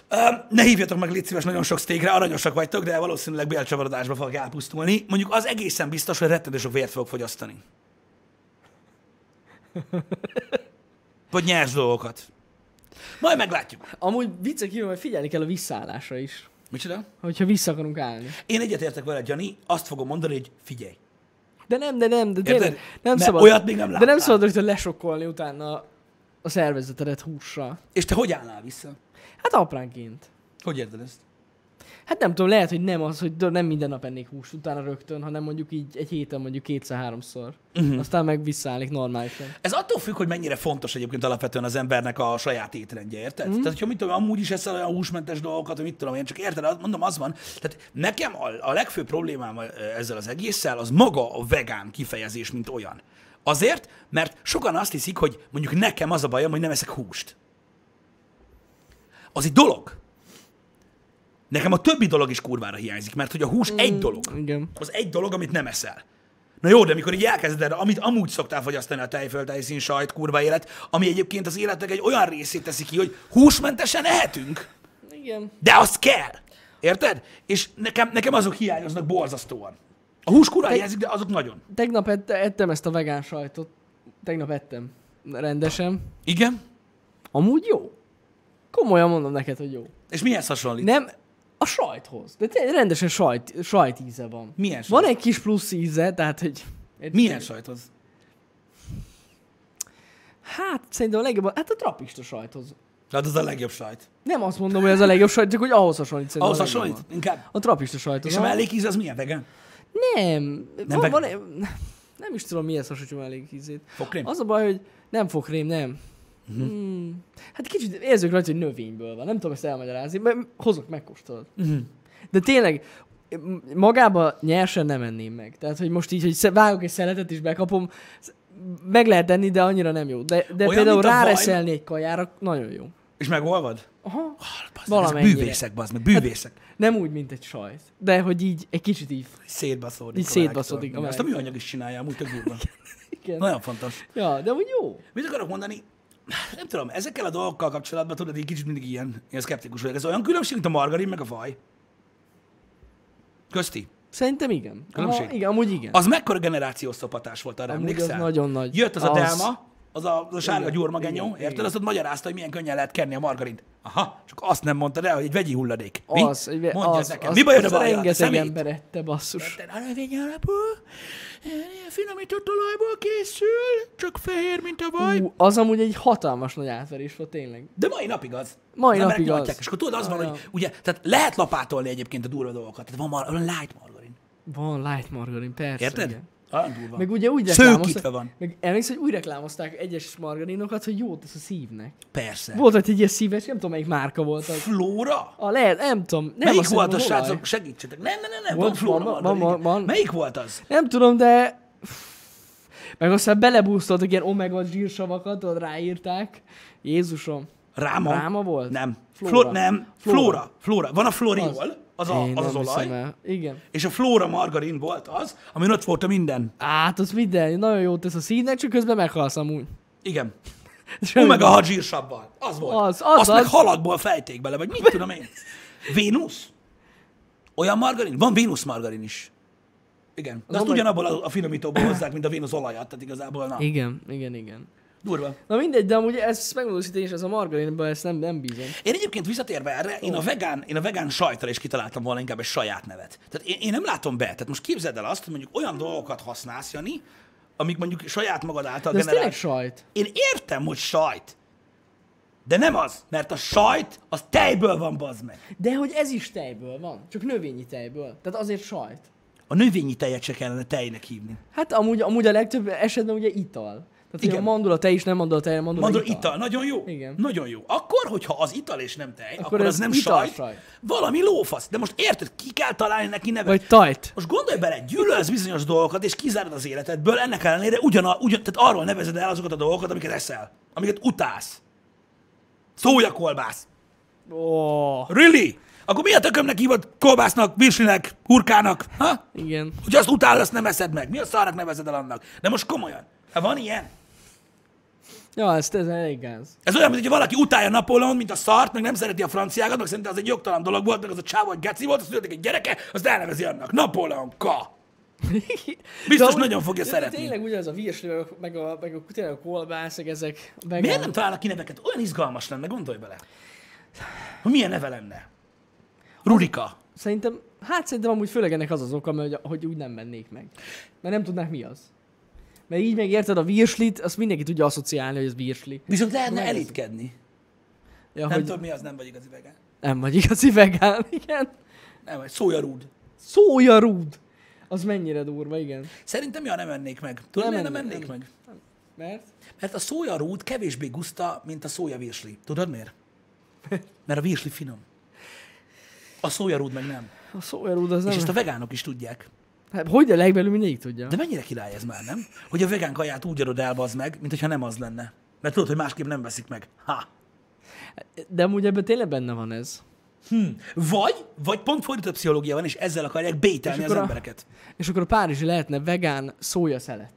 Speaker 1: Öm, ne hívjatok meg, légy szíves, nagyon sok steakre, aranyosak vagytok, de valószínűleg bélcsavarodásba fog elpusztulni. Mondjuk az egészen biztos, hogy rettentő sok vért fog fogyasztani. Vagy nyers dolgokat. Majd meglátjuk.
Speaker 2: Amúgy vicce kívül, hogy figyelni kell a visszaállásra is.
Speaker 1: Micsoda?
Speaker 2: Hogyha vissza akarunk állni.
Speaker 1: Én egyetértek veled, Jani, azt fogom mondani, hogy figyelj.
Speaker 2: De nem, de nem, de tényleg.
Speaker 1: Érted?
Speaker 2: Nem
Speaker 1: Mert
Speaker 2: szabad.
Speaker 1: olyat még nem
Speaker 2: De
Speaker 1: láttál.
Speaker 2: nem szabad, hogy lesokkolni utána a szervezetedet hússal.
Speaker 1: És te hogy állnál vissza?
Speaker 2: Hát apránként.
Speaker 1: Hogy érted ezt?
Speaker 2: Hát nem tudom, lehet, hogy nem az, hogy nem minden nap ennék húst utána rögtön, hanem mondjuk így egy héten mondjuk kétszer-háromszor.
Speaker 1: Mhm.
Speaker 2: Uh-huh. Aztán meg visszaállik normálisan.
Speaker 1: Ez attól függ, hogy mennyire fontos egyébként alapvetően az embernek a saját étrendje, érted? Mm. Tehát, hogyha mit tudom, amúgy is eszel olyan húsmentes dolgokat, hogy mit tudom én, csak érted, azt mondom, az van. Tehát nekem a, a legfőbb problémám ö, ezzel az egésszel az maga a vegán kifejezés, mint olyan. Azért, mert sokan azt hiszik, hogy mondjuk nekem az a bajom, hogy nem eszek húst. Az egy dolog. Nekem a többi dolog is kurvára hiányzik, mert hogy a hús mm. egy dolog
Speaker 2: Igen.
Speaker 1: az egy dolog, amit nem eszel. Na jó, de mikor így elkezded, erre, amit amúgy szoktál fogyasztani a tejföld, sajt, kurva élet, ami egyébként az életnek egy olyan részét teszi ki, hogy húsmentesen ehetünk,
Speaker 2: Igen.
Speaker 1: de az kell. Érted? És nekem, nekem azok hiányoznak borzasztóan. A hús kurva hiányzik, de azok nagyon.
Speaker 2: Tegnap ett, ettem ezt a vegán sajtot. Tegnap ettem. Rendesen.
Speaker 1: Igen?
Speaker 2: Amúgy jó. Komolyan mondom neked, hogy jó.
Speaker 1: És mihez hasonlít? Ne.
Speaker 2: Nem a sajthoz. De te- rendesen sajt, sajt íze van.
Speaker 1: Milyen sajt?
Speaker 2: Van egy kis plusz íze, tehát hogy...
Speaker 1: Milyen sajthoz?
Speaker 2: Hát szerintem a legjobb, hát a trapista sajthoz.
Speaker 1: Hát az a legjobb sajt.
Speaker 2: Nem azt mondom, hogy az a legjobb sajt, csak hogy ahhoz hasonlít. szerintem
Speaker 1: Ahhoz
Speaker 2: a legjobb
Speaker 1: hasonlít?
Speaker 2: van.
Speaker 1: Inkább.
Speaker 2: A trapista sajthoz.
Speaker 1: És a mellékíz az milyen vegán?
Speaker 2: Nem. Nem, van,
Speaker 1: vegán?
Speaker 2: van, nem is tudom, mihez hasonlítom elég ízét.
Speaker 1: Fokrém?
Speaker 2: Az a baj, hogy nem fokrém, nem. Uh-huh.
Speaker 1: Mhm.
Speaker 2: Hmm. Hát kicsit érzők rajta, hogy növényből van. Nem tudom ezt elmagyarázni, mert hozok, megkóstolod. Uh-huh. De tényleg, m- magába nyersen nem enném meg. Tehát, hogy most így, hogy sze- vágok egy szeletet és bekapom, sz- meg lehet enni, de annyira nem jó. De, de
Speaker 1: Olyan,
Speaker 2: például
Speaker 1: mint a vaj-
Speaker 2: ráreszelni egy kajára nagyon jó.
Speaker 1: És megolvad?
Speaker 2: Aha.
Speaker 1: Bazd, meg, ez
Speaker 2: Valamennyire.
Speaker 1: bűvészek, bazd meg, bűvészek.
Speaker 2: Nem úgy, mint egy sajt, de hogy így egy kicsit így.
Speaker 1: Szétbaszódik.
Speaker 2: Így
Speaker 1: a
Speaker 2: szétbaszódik
Speaker 1: világtól.
Speaker 2: a
Speaker 1: Azt a
Speaker 2: világtól.
Speaker 1: műanyag is csinálja, amúgy tök durva.
Speaker 2: Igen.
Speaker 1: Nagyon fontos.
Speaker 2: Ja, de úgy jó.
Speaker 1: Mit akarok mondani? Nem tudom, ezekkel a dolgokkal kapcsolatban tudod, így kicsit mindig ilyen, ilyen szkeptikus vagyok. Ez olyan különbség, mint a margarin meg a vaj. Közti.
Speaker 2: Szerintem igen.
Speaker 1: Különbség?
Speaker 2: Aha, igen, amúgy igen.
Speaker 1: Az mekkora generációs szopatás volt, arra
Speaker 2: Amúgy
Speaker 1: emlékszel?
Speaker 2: az nagyon nagy.
Speaker 1: Jött az a
Speaker 2: Az.
Speaker 1: delma, az a, az a sárga
Speaker 2: Igen,
Speaker 1: gyurmagenyó,
Speaker 2: igen,
Speaker 1: érted?
Speaker 2: igen.
Speaker 1: Azt ott magyarázta, hogy milyen könnyen lehet kenni a margarint. Aha, csak azt nem mondta el, hogy egy vegyi hulladék. Mi?
Speaker 2: Az, egy-
Speaker 1: Mondja
Speaker 2: az,
Speaker 1: ez nekem.
Speaker 2: az-
Speaker 1: Mi bajod a
Speaker 2: az
Speaker 1: bajod?
Speaker 2: Rengeteg ember ette, basszus.
Speaker 1: A növény alapú, eh, finomított olajból készül, csak fehér, mint a vaj.
Speaker 2: Ú, az amúgy egy hatalmas nagy átverés volt, tényleg.
Speaker 1: De mai napig az.
Speaker 2: Mai
Speaker 1: Az emberek
Speaker 2: napig az.
Speaker 1: nyomják, És akkor tudod, az van,
Speaker 2: Ja.
Speaker 1: hogy ugye, tehát lehet lapátolni egyébként a durva dolgokat. Tehát van mar- olyan light margarin.
Speaker 2: Van light margarin, persze.
Speaker 1: Érted?
Speaker 2: igen.
Speaker 1: Olyan durva.
Speaker 2: Meg ugye úgy
Speaker 1: Szőkítve
Speaker 2: reklámozták,
Speaker 1: van.
Speaker 2: meg emlékszel, hogy úgy reklámozták egyes margarinokat, hogy jót tesz a szívnek.
Speaker 1: Persze.
Speaker 2: Volt ott egy ilyen szíves, nem tudom melyik márka volt az.
Speaker 1: Flóra?
Speaker 2: A lehet, nem tudom. Nem
Speaker 1: Nem Melyik
Speaker 2: azt
Speaker 1: volt az,
Speaker 2: hiszem, olaj.
Speaker 1: srácok? Segítsetek. Nem, nem, nem, nem.
Speaker 2: Volt,
Speaker 1: Van flóra
Speaker 2: van, van,
Speaker 1: margarin.
Speaker 2: van, van.
Speaker 1: Melyik volt az?
Speaker 2: Nem tudom, de... Meg aztán belebúztoltak ilyen omega zsírsavakat, ott ráírták. Jézusom.
Speaker 1: Ráma?
Speaker 2: Ráma volt?
Speaker 1: Nem.
Speaker 2: Flóra.
Speaker 1: Flóra. nem.
Speaker 2: Flóra.
Speaker 1: Flóra. Flóra. Van a floriol, az,
Speaker 2: Az.
Speaker 1: a,
Speaker 2: Én
Speaker 1: az, az
Speaker 2: nem hiszem
Speaker 1: olaj.
Speaker 2: el. Igen.
Speaker 1: És a flóra margarin volt az, amin ott volt a minden.
Speaker 2: Át, Hát, az minden, nagyon jót tesz a színnek, csak közben meghalsz amúgy.
Speaker 1: Igen.
Speaker 2: Semmi
Speaker 1: Omega hat zsírsabbal. Az volt.
Speaker 2: Az, az,
Speaker 1: Azt
Speaker 2: az.
Speaker 1: meg halakból fejték bele, vagy mit tudom én. Vénusz? Olyan margarin? Van Vénusz margarin is. Igen. De azt
Speaker 2: omega-
Speaker 1: ugyanabból a, a finomítóból hozzák, mint a Vénusz olajat, tehát igazából na.
Speaker 2: Igen, igen, igen.
Speaker 1: Durva.
Speaker 2: Na mindegy, de amúgy ezt megmondom, hogy ez a margarinban ezt nem, nem bízom.
Speaker 1: Én egyébként visszatérve erre, én a, vegán, én a vegán sajtra is kitaláltam volna inkább egy saját nevet. Tehát én, én nem látom be. Tehát most képzeld el azt, hogy mondjuk olyan dolgokat használsz, Jani, amik mondjuk saját magad által
Speaker 2: De ez
Speaker 1: generál.
Speaker 2: tényleg sajt.
Speaker 1: Én értem, hogy sajt. De nem az, mert a sajt az tejből van, bazd meg.
Speaker 2: De hogy ez is tejből van, csak növényi tejből. Tehát azért sajt.
Speaker 1: A növényi tejet se kellene tejnek hívni.
Speaker 2: Hát amúgy, amúgy a legtöbb esetben ugye ital. Tehát igen.
Speaker 1: Igen.
Speaker 2: a mandula tej is nem mandula tej, hanem mandula,
Speaker 1: Mondom,
Speaker 2: ital.
Speaker 1: ital. nagyon jó.
Speaker 2: Igen.
Speaker 1: Nagyon jó. Akkor, hogyha az ital és nem tej, akkor, akkor
Speaker 2: ez
Speaker 1: az nem
Speaker 2: ital
Speaker 1: sajt,
Speaker 2: sajt.
Speaker 1: valami lófasz. De most érted, ki kell találni neki nevet.
Speaker 2: Vagy tajt.
Speaker 1: Most gondolj bele, gyűlölsz bizonyos dolgokat, és kizárod az életedből, ennek ellenére ugyan, ugyan, tehát arról nevezed el azokat a dolgokat, amiket eszel, amiket utálsz. Szója kolbász.
Speaker 2: Oh,
Speaker 1: Really? Akkor mi a tökömnek hívod kolbásznak, virslinek, hurkának? Ha?
Speaker 2: igen.
Speaker 1: Hogy azt utálod, azt nem eszed meg. Mi a szarnak nevezed el annak? De most komolyan. Hát van ilyen?
Speaker 2: Ja, ez, ez elég gáz.
Speaker 1: Ez olyan, mintha valaki utálja Napóleon, mint a szart, meg nem szereti a franciákat, meg szerintem az egy jogtalan dolog volt, meg az a csávó, egy geci volt, az születik egy gyereke, azt elnevezi annak. Napóleon K. Biztos
Speaker 2: amúgy-
Speaker 1: nagyon fogja
Speaker 2: de
Speaker 1: szeretni.
Speaker 2: Tényleg ugyanaz a virsli, meg a, meg a, meg a, tényleg a kolbász, meg ezek. Meg
Speaker 1: Miért
Speaker 2: a-
Speaker 1: nem találnak ki neveket? Olyan izgalmas lenne, gondolj bele. Hogy milyen neve lenne? Rurika.
Speaker 2: Szerintem, hát szerintem amúgy főleg ennek az az oka, mert, hogy- hogy úgy nem mennék meg. Mert nem tudnák mi az. Mert így meg érted a virslit, azt mindenki tudja asszociálni, hogy ez virsli.
Speaker 1: Viszont lehetne
Speaker 2: Meg az-
Speaker 1: elitkedni.
Speaker 2: Ja,
Speaker 1: Nem
Speaker 2: hogy
Speaker 1: tudom, mi az, nem vagy igazi vegán.
Speaker 2: nem vagy igazi vegán, igen.
Speaker 1: Nem, vagy szójarúd.
Speaker 2: Szója rúd! Az mennyire durva, igen.
Speaker 1: Szerintem ja, nem ennék meg. Tudod,
Speaker 2: Nem
Speaker 1: nem, nem
Speaker 2: ennék,
Speaker 1: ennék meg.
Speaker 2: Mert?
Speaker 1: Mert a szójarúd kevésbé guszta, mint a szójavirsli. Tudod miért? Mert a virsli finom. A szójarúd meg nem.
Speaker 2: A szója rúd az
Speaker 1: És
Speaker 2: nem...
Speaker 1: ezt a vegánok is tudják.
Speaker 2: Hát, hogy a legbelül mindegyik tudja?
Speaker 1: De mennyire király ez már, nem? Hogy a vegán kaját úgy adod el, bazd meg, mint hogyha nem az lenne. Mert tudod, hogy másképp nem veszik meg. Ha.
Speaker 2: De amúgy ebben tényleg benne van ez.
Speaker 1: Vagy, vagy pont fordított pszichológia van, és ezzel akarják bételni
Speaker 2: És
Speaker 1: az
Speaker 2: akkor a-
Speaker 1: embereket.
Speaker 2: És akkor a Párizsi lehetne vegán szója szelet.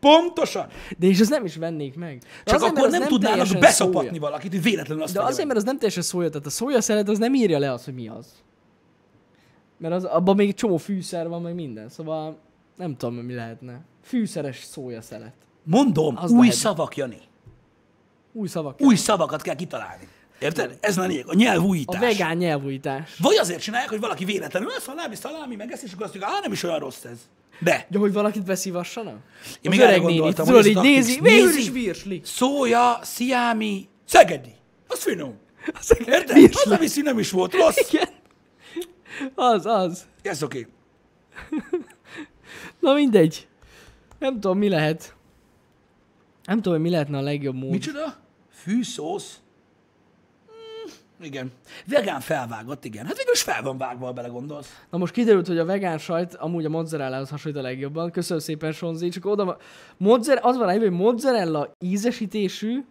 Speaker 1: Pontosan!
Speaker 2: De és ezt nem is vennék meg. De
Speaker 1: Csak
Speaker 2: azért, mert
Speaker 1: akkor
Speaker 2: az
Speaker 1: nem, tudnának
Speaker 2: teljesen
Speaker 1: beszapatni
Speaker 2: szója.
Speaker 1: valakit, hogy véletlenül azt
Speaker 2: De azért, mert az nem teljesen szója, tehát a szója szeret, az nem írja le azt, hogy mi az. Mert az, abban még csomó fűszer van, meg minden, szóval nem tudom, mi lehetne. Fűszeres szója szelet.
Speaker 1: Mondom,
Speaker 2: az
Speaker 1: új
Speaker 2: lehet.
Speaker 1: szavak, Jani.
Speaker 2: Új szavak.
Speaker 1: Új szavakat kell kitalálni. Érted? Ez lenne a nyelvújítás.
Speaker 2: a vegán nyelvújítás.
Speaker 1: Vagy azért csinálják, hogy valaki véletlenül a szalámi, szalámi, meg ezt, és akkor azt mondjuk, "Á, nem is olyan rossz ez. De.
Speaker 2: Ja, hogy valakit beszívassanak?
Speaker 1: Én
Speaker 2: Az
Speaker 1: még erre
Speaker 2: öreg néni,
Speaker 1: gondoltam,
Speaker 2: tudod,
Speaker 1: hogy
Speaker 2: így
Speaker 1: ez a
Speaker 2: nézi,
Speaker 1: taktikus.
Speaker 2: végül
Speaker 1: Nézi.
Speaker 2: is virsli.
Speaker 1: Szója, sziámi, szegedi. Az finom. Érted?
Speaker 2: virsli.
Speaker 1: Az a viszi nem is volt rossz.
Speaker 2: Igen. Az, az.
Speaker 1: Ez oké. Okay.
Speaker 2: Na mindegy. Nem tudom, mi lehet. Nem tudom, hogy mi lehetne a legjobb mód.
Speaker 1: Micsoda? Fűszósz? Mm, Igen. Vegán felvágott, igen. Hát végül is fel van vágva, ha belegondolsz.
Speaker 2: Na most kiderült, hogy a vegán sajt amúgy a mozzarellához hasonlít a legjobban. Köszönöm szépen, Sonzi. Csak oda van... Mozzer... Az van egyébként, hogy mozzarella ízesítésű,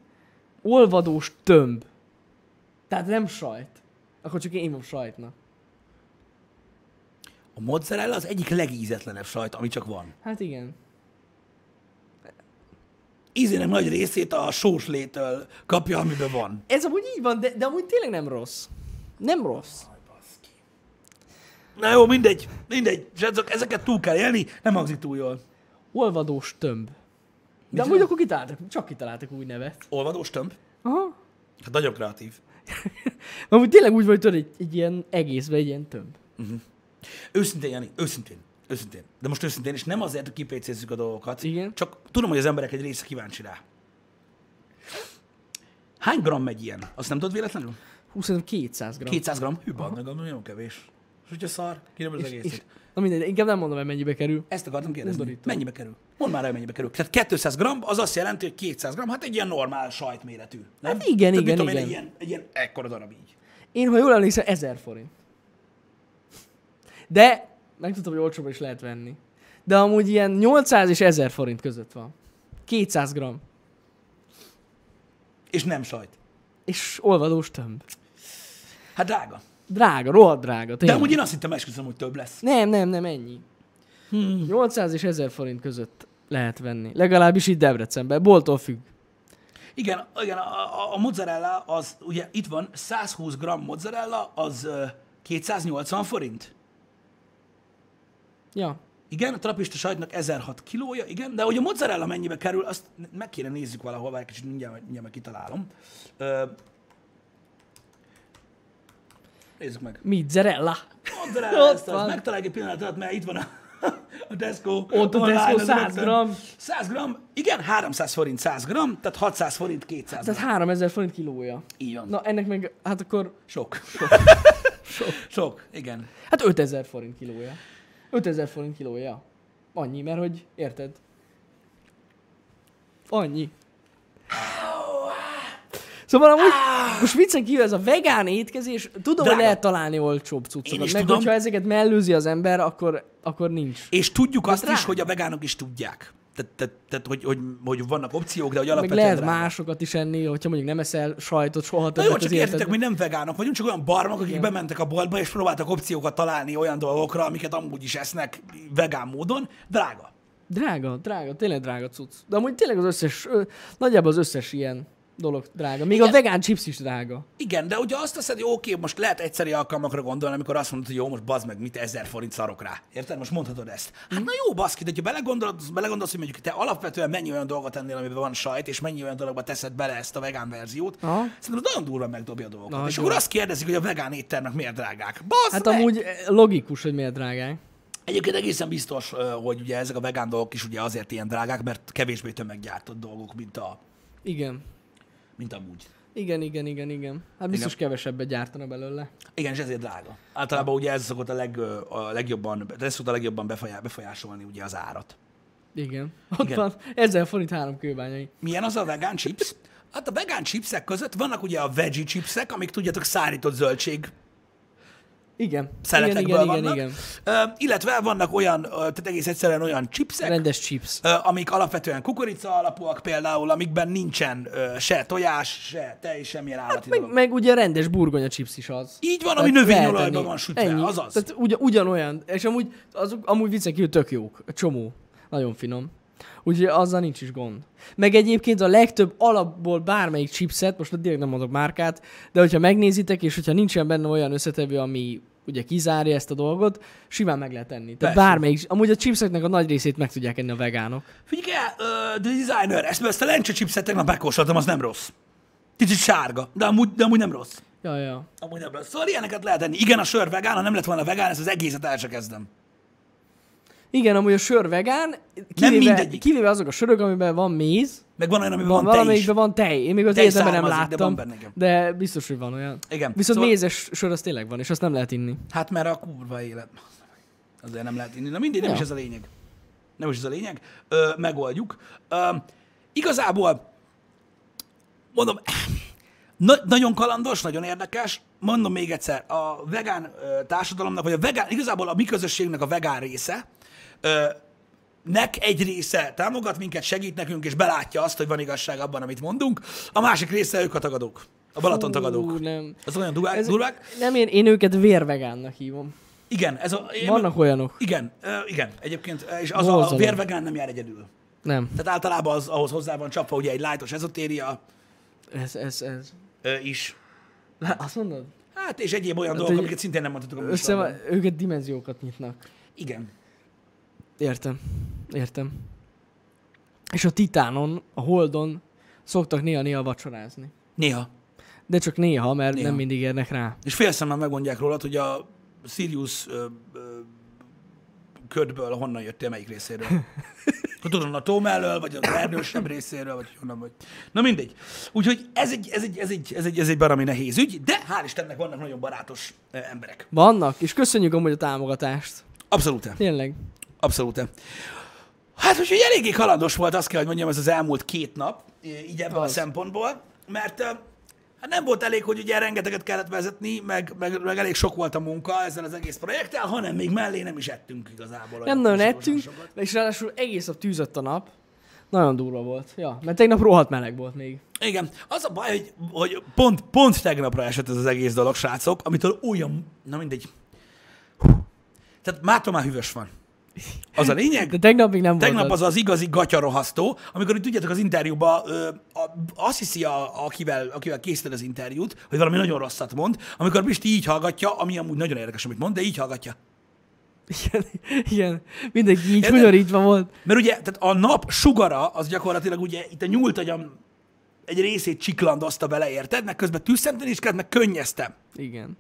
Speaker 2: olvadós tömb. Tehát nem sajt. Akkor csak én ívom sajtnak.
Speaker 1: A mozzarella az egyik legízetlenebb sajt, ami csak van.
Speaker 2: Hát igen.
Speaker 1: Ízének nagy részét a sóslétől kapja, amiben van.
Speaker 2: Ez amúgy így van, de, de amúgy tényleg nem rossz. Nem rossz.
Speaker 1: Na jó, mindegy, mindegy. Srácok, ezeket túl kell élni, nem hangzik túl jól.
Speaker 2: Olvadós tömb. De amúgy akkor kitaláltak, csak kitaláltak új nevet.
Speaker 1: Olvadós tömb?
Speaker 2: Aha.
Speaker 1: Hát nagyon kreatív.
Speaker 2: Amúgy tényleg úgy vagy, hogy egy, egy ilyen egészben egy ilyen tömb.
Speaker 1: Őszintén, Jani, őszintén. Őszintén. De most őszintén, és nem azért, hogy kipécézzük a dolgokat.
Speaker 2: Igen.
Speaker 1: Csak tudom, hogy az emberek egy része kíváncsi rá. Hány gram megy ilyen? Azt nem tudod véletlenül?
Speaker 2: 20 200 gram.
Speaker 1: 200 gram? Hű, bad, meg gondolom, nagyon kevés. És hogyha szar, kérem az egészet.
Speaker 2: És, na mindegy, inkább nem mondom, hogy mennyibe kerül.
Speaker 1: Ezt akartam kérdezni.
Speaker 2: Undorító.
Speaker 1: Mennyibe kerül? Mondd már el, mennyibe kerül. Tehát 200 gram, az azt jelenti, hogy 200 gram, hát egy ilyen normál sajtméretű. Nem?
Speaker 2: Hát igen,
Speaker 1: Tehát mit
Speaker 2: igen,
Speaker 1: tudom Én,
Speaker 2: igen.
Speaker 1: egy, ilyen, egy ilyen ekkora darab így.
Speaker 2: Én, ha jól emlékszem, 1000 forint. De megtudtam, hogy olcsóban is lehet venni. De amúgy ilyen 800 és 1000 forint között van. 200 gram.
Speaker 1: És nem sajt.
Speaker 2: És olvadós tömb.
Speaker 1: Hát drága.
Speaker 2: Drága, rohadt drága.
Speaker 1: De
Speaker 2: Tényleg.
Speaker 1: amúgy én azt hittem, esküszöm, hogy több lesz.
Speaker 2: Nem, nem, nem, ennyi. Hmm. 800 és 1000 forint között lehet venni. Legalábbis itt Debrecenben. Bolttól függ.
Speaker 1: Igen, igen a, a, a mozzarella az, ugye itt van, 120 g mozzarella, az ö, 280 forint.
Speaker 2: Ja.
Speaker 1: Igen, a trapista sajtnak 1006 kilója, igen, de hogy a mozzarella mennyibe kerül, azt ne- meg kéne nézzük valahol, várj egy kicsit, mindjárt, mindjárt meg kitalálom. Ö, nézzük meg.
Speaker 2: Mozzarella.
Speaker 1: Mozzarella,
Speaker 2: Ott
Speaker 1: ezt
Speaker 2: van.
Speaker 1: azt megtaláljuk egy pillanat alatt, mert itt van a, a Tesco.
Speaker 2: Ott a
Speaker 1: online,
Speaker 2: Tesco
Speaker 1: az
Speaker 2: 100
Speaker 1: rögtön.
Speaker 2: gram.
Speaker 1: 100 gram, igen, 300 forint 100 gram, tehát 600 forint 200
Speaker 2: Tehát
Speaker 1: gram.
Speaker 2: 3000 forint kilója.
Speaker 1: Így van.
Speaker 2: Na ennek meg, hát akkor,
Speaker 1: Sok. Sok. Sok. Sok, igen.
Speaker 2: hát 5000 forint kilója. 5000 forint kilója. Annyi, mert hogy, érted? Annyi. Szóval amúgy, most viccen kívül ez a vegán étkezés, tudom,
Speaker 1: Drága.
Speaker 2: hogy lehet találni olcsóbb
Speaker 1: Én
Speaker 2: cuccokat.
Speaker 1: is
Speaker 2: Meg
Speaker 1: tudom.
Speaker 2: hogyha ezeket mellőzi az ember, akkor, akkor nincs.
Speaker 1: És tudjuk azt
Speaker 2: drága.
Speaker 1: is, hogy a vegánok is tudják. Tehát, tehát, tehát hogy, hogy, hogy vannak opciók, de hogy
Speaker 2: Meg
Speaker 1: alapvetően...
Speaker 2: lehet
Speaker 1: drága.
Speaker 2: másokat is enni, hogyha mondjuk nem eszel sajtot soha
Speaker 1: Na
Speaker 2: többet
Speaker 1: jó, csak
Speaker 2: az
Speaker 1: értitek,
Speaker 2: életedben.
Speaker 1: mi nem vegánok vagyunk, csak olyan barmak, akik
Speaker 2: Igen.
Speaker 1: bementek a boltba, és próbáltak opciókat találni olyan dolgokra, amiket amúgy is esznek vegán módon. Drága.
Speaker 2: Drága, drága, tényleg drága cucc. De amúgy tényleg az összes, ö, nagyjából az összes ilyen dolog drága. Még Igen. a
Speaker 1: Igen.
Speaker 2: vegán chips is drága.
Speaker 1: Igen, de hogyha azt teszed, hogy oké, most lehet egyszerű alkalmakra gondolni, amikor azt mondod, hogy jó, most bazd meg, mit ezer forint szarok rá. Érted? Most mondhatod ezt.
Speaker 2: Mhm.
Speaker 1: Hát na jó, baszki, de ha belegondolsz, belegondolsz, hogy mondjuk te alapvetően mennyi olyan dolgot ennél, amiben van sajt, és mennyi olyan dologba teszed bele ezt a vegán verziót,
Speaker 2: Aha.
Speaker 1: szerintem az nagyon durva megdobja a dolgokat.
Speaker 2: Nagyon.
Speaker 1: és akkor azt kérdezik, hogy a vegán éttermek miért drágák. Bazd
Speaker 2: Hát
Speaker 1: meg!
Speaker 2: amúgy eh, logikus, hogy miért drágák.
Speaker 1: Egyébként egészen biztos, ö, hogy ugye ezek a vegán dolgok is ugye azért ilyen drágák, mert kevésbé tömeggyártott dolgok, mint a,
Speaker 2: Igen.
Speaker 1: mint amúgy.
Speaker 2: Igen, igen, igen, igen. Hát biztos
Speaker 1: Igen.
Speaker 2: kevesebbet gyártana belőle.
Speaker 1: Igen, és ezért drága. Általában ugye ez szokott a, leg, ö, a legjobban, ez szokott a legjobban befolyá- befolyásolni ugye az árat.
Speaker 2: Igen. Ott
Speaker 1: Igen.
Speaker 2: van. Ezzel forint három kőbányai.
Speaker 1: Milyen az a vegán chips? Hát a vegán chipsek között vannak ugye a veggie chipsek, amik tudjátok szárított zöldség
Speaker 2: Igen. Igen,
Speaker 1: szeletekből
Speaker 2: igen, igen,
Speaker 1: vannak,
Speaker 2: igen.
Speaker 1: Ö, illetve vannak olyan, ö, tehát egész egyszerűen olyan chipsek,
Speaker 2: Rendes chips.
Speaker 1: ö, amik alapvetően kukorica alapúak például, amikben nincsen ö, se tojás, se tej, semmilyen állati
Speaker 2: Hát Meg,
Speaker 1: dolog.
Speaker 2: meg ugye rendes burgonya chips is az.
Speaker 1: Így van, ami
Speaker 2: Tehát lehet
Speaker 1: növényolajban
Speaker 2: enni.
Speaker 1: van sütve,
Speaker 2: Ennyi.
Speaker 1: azaz.
Speaker 2: Tehát ugy, ugyanolyan, és amúgy, azok, amúgy viccen kívül tök jók, csomó. Nagyon finom. Úgyhogy azzal nincs is gond. Meg egyébként a legtöbb alapból bármelyik chipset, most direkt nem mondok márkát, de hogyha megnézitek, és hogyha nincsen benne olyan összetevő, ami ugye kizárja ezt a dolgot, simán meg lehet enni. Tehát
Speaker 1: Persze.
Speaker 2: bármelyik, amúgy a chipseknek a nagy részét meg tudják enni a vegánok.
Speaker 1: Figyelj el, ö, The Designer, ezt, ezt a lencse chipset tegnap megkóstoltam, az nem rossz. Kicsit sárga, de amúgy, de amúgy nem rossz.
Speaker 2: Ja, ja.
Speaker 1: Amúgy nem rossz. Szóval ilyeneket lehet enni. Igen, a sör vegán, ha nem lett volna vegán, ezt az egészet el se kezdem.
Speaker 2: Igen, amúgy a sör vegán, kivéve,
Speaker 1: mindegyik.
Speaker 2: kivéve azok a sörök, amiben van méz,
Speaker 1: Meg van olyan, amiben
Speaker 2: Van,
Speaker 1: van, van
Speaker 2: van
Speaker 1: tej is.
Speaker 2: valamelyikben van tej. Én még az
Speaker 1: Tej
Speaker 2: életemben nem
Speaker 1: származik, de
Speaker 2: láttam.
Speaker 1: van benne, igen.
Speaker 2: de biztos, hogy van olyan.
Speaker 1: Igen.
Speaker 2: Viszont
Speaker 1: Szóval-
Speaker 2: mézes sör az tényleg van, és azt nem lehet inni.
Speaker 1: Hát mert a kurva élet. Azért nem lehet inni. Na mindig, nem
Speaker 2: Ja.
Speaker 1: is ez a lényeg. Nem is ez a lényeg. Ö, megoldjuk. Ö, igazából, mondom, Na- nagyon kalandos, nagyon érdekes. Mondom még egyszer, a vegán ö, társadalomnak, vagy a vegán, igazából a mi közösségünknek a vegán része, ö, nek egy része támogat minket, segít nekünk, és belátja azt, hogy van igazság abban, amit mondunk. A másik része ők a tagadók. A Balaton tagadók.
Speaker 2: Ú, nem.
Speaker 1: Azok olyan durvák.
Speaker 2: Ez,
Speaker 1: durvák.
Speaker 2: nem, én, én őket vérvegánnak hívom.
Speaker 1: Igen, ez a... én-
Speaker 2: Vannak olyanok.
Speaker 1: Igen, ö, igen, egyébként, ö, és az a, a
Speaker 2: Borzalom.
Speaker 1: vérvegán nem jár egyedül.
Speaker 2: Nem.
Speaker 1: Tehát általában az, ahhoz hozzá van csapva ugye egy lájtos ezotéria
Speaker 2: Ez, ez, ez.
Speaker 1: ö, is.
Speaker 2: Lá- Azt mondod?
Speaker 1: Hát, és egyéb olyan
Speaker 2: hogy
Speaker 1: dolgok, amiket szintén nem mondhatok a
Speaker 2: Össze
Speaker 1: műsorban.
Speaker 2: van, őket dimenziókat nyitnak.
Speaker 1: Igen.
Speaker 2: Értem. Értem. És a Titánon, a Holdon szoktak néha-néha vacsorázni.
Speaker 1: Néha.
Speaker 2: De csak néha, mert
Speaker 1: Néha.
Speaker 2: nem mindig érnek rá.
Speaker 1: És félszemmel megmondják rólad, hogy a Sirius ö, ö, ködből honnan jöttél, melyik részéről. Ha Tudom, a tó mellől, vagy az erdősebb részéről, vagy honnan vagy. Na mindegy. Úgyhogy ez egy, ez egy, ez egy, ez egy, ez egy barami nehéz ügy, de hál' Istennek vannak nagyon barátos ö, emberek.
Speaker 2: Vannak, és köszönjük amúgy a támogatást.
Speaker 1: Abszolút.
Speaker 2: Tényleg.
Speaker 1: Abszolút. Hát, úgyhogy eléggé kalandos volt, azt kell, hogy mondjam, ez az elmúlt két nap, így ebben a
Speaker 2: Az.
Speaker 1: szempontból, mert ö, hát nem volt elég, hogy ugye rengeteget kellett vezetni, meg, meg, meg elég sok volt a munka ezzel az egész projekttel, hanem még mellé nem is ettünk igazából. olyan
Speaker 2: Nem nagyon
Speaker 1: túlságosan
Speaker 2: ettünk,
Speaker 1: sokat.
Speaker 2: és ráadásul egész nap tűzött a nap. Nagyon durva volt. Ja, mert tegnap rohadt meleg volt még.
Speaker 1: Igen, az a baj, hogy, hogy pont, pont tegnapra esett ez az egész dolog, srácok, amitől olyan, na mindegy. Hú. Tehát mától már hűvös van. Az a lényeg,
Speaker 2: De tegnap még nem
Speaker 1: Tegnap
Speaker 2: volt
Speaker 1: az az igazi gatyarohasztó, amikor itt tudjátok az interjúba, ö, a, azt hiszi, a, akivel, akivel készíted az interjút, hogy valami nagyon rosszat mond, amikor Pisti így hallgatja, ami amúgy nagyon érdekes, amit mond, de így hallgatja.
Speaker 2: Igen, igen, mindenki így
Speaker 1: Érted?
Speaker 2: hunyorítva volt.
Speaker 1: Mert ugye tehát a nap sugara, az gyakorlatilag ugye itt a nyúlt agyam egy részét csiklandozta bele, érted? Meg közben tűzszemteni is kellett, meg könnyeztem.
Speaker 2: Igen.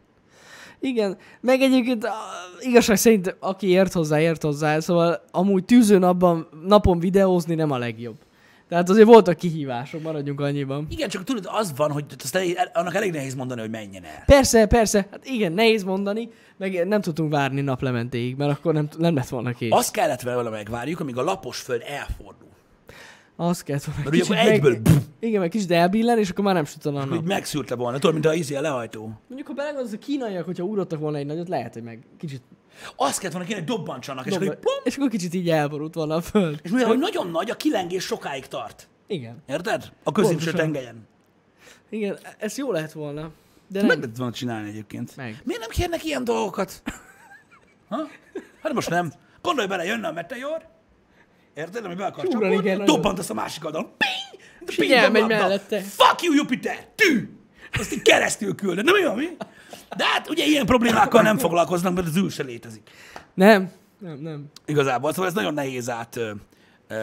Speaker 2: Igen, meg egyébként a, igazság szerint, aki ért hozzá, ért hozzá, szóval amúgy tűző napban, napon videózni nem a legjobb. Tehát azért voltak kihívások, maradjunk annyiban.
Speaker 1: Igen, csak tudod, az van, hogy azt elég, annak elég nehéz mondani, hogy menjen el.
Speaker 2: Persze, persze, hát igen, nehéz mondani, meg nem tudtunk várni naplementéig, mert akkor nem, nem lett volna kész.
Speaker 1: Azt kellett vele megvárjuk, amíg a lapos föld elfordul.
Speaker 2: Az kellett volna
Speaker 1: Mert ugye akkor egyből pff,
Speaker 2: Igen, meg kicsit elbillen, és akkor már nem sütana a
Speaker 1: így
Speaker 2: nap.
Speaker 1: megszűrte volna. Tudod, mint a izé a lehajtó.
Speaker 2: Mondjuk, ha belegondolsz, a kínaiak, hogyha ugrottak volna egy nagyot, lehet, hogy meg kicsit
Speaker 1: Azt kellett volna kéne, hogy dobbancsanak, és akkor
Speaker 2: Dobva-
Speaker 1: így pum,
Speaker 2: És akkor kicsit így elborult volna a föld.
Speaker 1: És mivel, hogy nagyon nagy, a kilengés sokáig tart.
Speaker 2: Igen.
Speaker 1: Érted? A középső
Speaker 2: Pontosan.
Speaker 1: tengelyen.
Speaker 2: Igen, ez jó lehet volna. De
Speaker 1: Meg
Speaker 2: nem.
Speaker 1: lehet volna csinálni egyébként.
Speaker 2: Meg.
Speaker 1: Miért nem kérnek ilyen dolgokat? Ha? Hát most nem. Gondolj bele, jönne a meteor, érted, ami be akar
Speaker 2: Ugrani kell
Speaker 1: csapódni,
Speaker 2: nagyon.
Speaker 1: dobbantasz a másik oldalon. Ping! De
Speaker 2: És így
Speaker 1: ping,
Speaker 2: elmegy
Speaker 1: dobbantasz.
Speaker 2: mellette.
Speaker 1: Fuck you, Jupiter! Tű! Azt így keresztül küldöd. Nem jó, mi? De hát ugye ilyen problémákkal nem foglalkoznak, mert az űr se létezik.
Speaker 2: Nem. Nem, nem.
Speaker 1: Igazából, szóval ez nagyon nehéz át, ö, ö,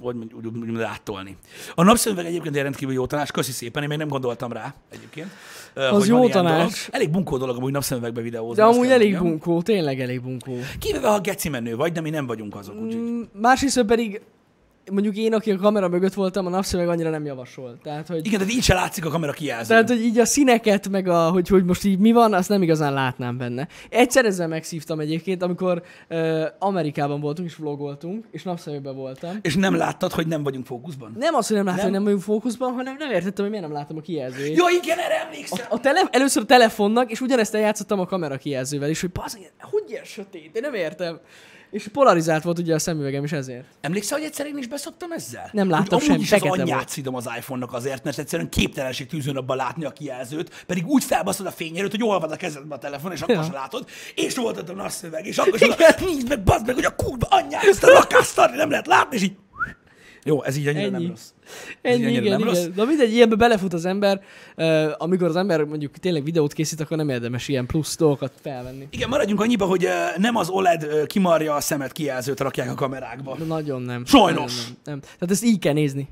Speaker 1: hogy mondj- úgy, úgy, úgy áttolni. A napszöveg egyébként egy rendkívül jó tanács, köszi szépen, én még nem gondoltam rá egyébként. ö,
Speaker 2: Az
Speaker 1: hogy
Speaker 2: jó
Speaker 1: van ilyen
Speaker 2: tanács.
Speaker 1: Dolog. Elég bunkó dolog amúgy napszövegbe videózni.
Speaker 2: De
Speaker 1: azt
Speaker 2: amúgy
Speaker 1: kell
Speaker 2: elég
Speaker 1: mondjam.
Speaker 2: bunkó, tényleg elég bunkó.
Speaker 1: Kivéve, ha geci menő vagy, de mi nem vagyunk azok, úgyhogy.
Speaker 2: Mm, Másrészt pedig mondjuk én, aki a kamera mögött voltam, a napszöveg annyira nem javasol. Tehát, hogy,
Speaker 1: Igen, tehát így se látszik a kamera kijelző.
Speaker 2: tehát, hogy így a színeket, meg a, hogy, hogy most így mi van, azt nem igazán látnám benne. Egyszer ezzel megszívtam egyébként, amikor uh, Amerikában voltunk és vlogoltunk, és napszövegben voltam.
Speaker 1: És nem láttad, hogy nem vagyunk fókuszban?
Speaker 2: Nem az, hogy nem láttam,
Speaker 1: Nem?
Speaker 2: hogy nem vagyunk fókuszban, hanem nem értettem, hogy miért nem látom a kijelzőjét.
Speaker 1: Jó, igen, erre emlékszem.
Speaker 2: A, a tele, először a telefonnak, és ugyanezt eljátszottam a kamera kijelzővel is, hogy bazd, hogy ilyen sötét, én nem értem. És polarizált volt ugye a szemüvegem is ezért.
Speaker 1: Emlékszel, hogy egyszer én is beszoptam ezzel?
Speaker 2: Nem láttam
Speaker 1: Hogy amúgy
Speaker 2: semmit,
Speaker 1: is az
Speaker 2: fekete
Speaker 1: anyját
Speaker 2: volt.
Speaker 1: szidom az iPhone-nak azért, mert egyszerűen képtelenség tűzőnapban látni a kijelzőt, pedig úgy felbaszod a fényerőt, hogy olvad a kezedbe a telefon, és akkor
Speaker 2: Ja.
Speaker 1: sem látod, és volt ott a napszöveg, és akkor sem látod, nincs meg, bazd meg, hogy a kurva anyját, ezt a lakásztani nem lehet látni, és így... Jó, ez így annyira Ennyi. nem
Speaker 2: Ennyi.
Speaker 1: rossz. Ez így
Speaker 2: Ennyi,
Speaker 1: annyira
Speaker 2: igen,
Speaker 1: nem rossz.
Speaker 2: igen. Na mindegy, ilyenbe belefut az ember, uh, amikor az ember mondjuk tényleg videót készít, akkor nem érdemes ilyen plusz dolgokat felvenni.
Speaker 1: Igen, maradjunk annyiba, hogy ö, nem az OLED ö, kimarja a szemet kijelzőt rakják a kamerákba.
Speaker 2: De nagyon nem.
Speaker 1: Sajnos.
Speaker 2: Nagyon Nem, nem. Tehát ezt így kell nézni.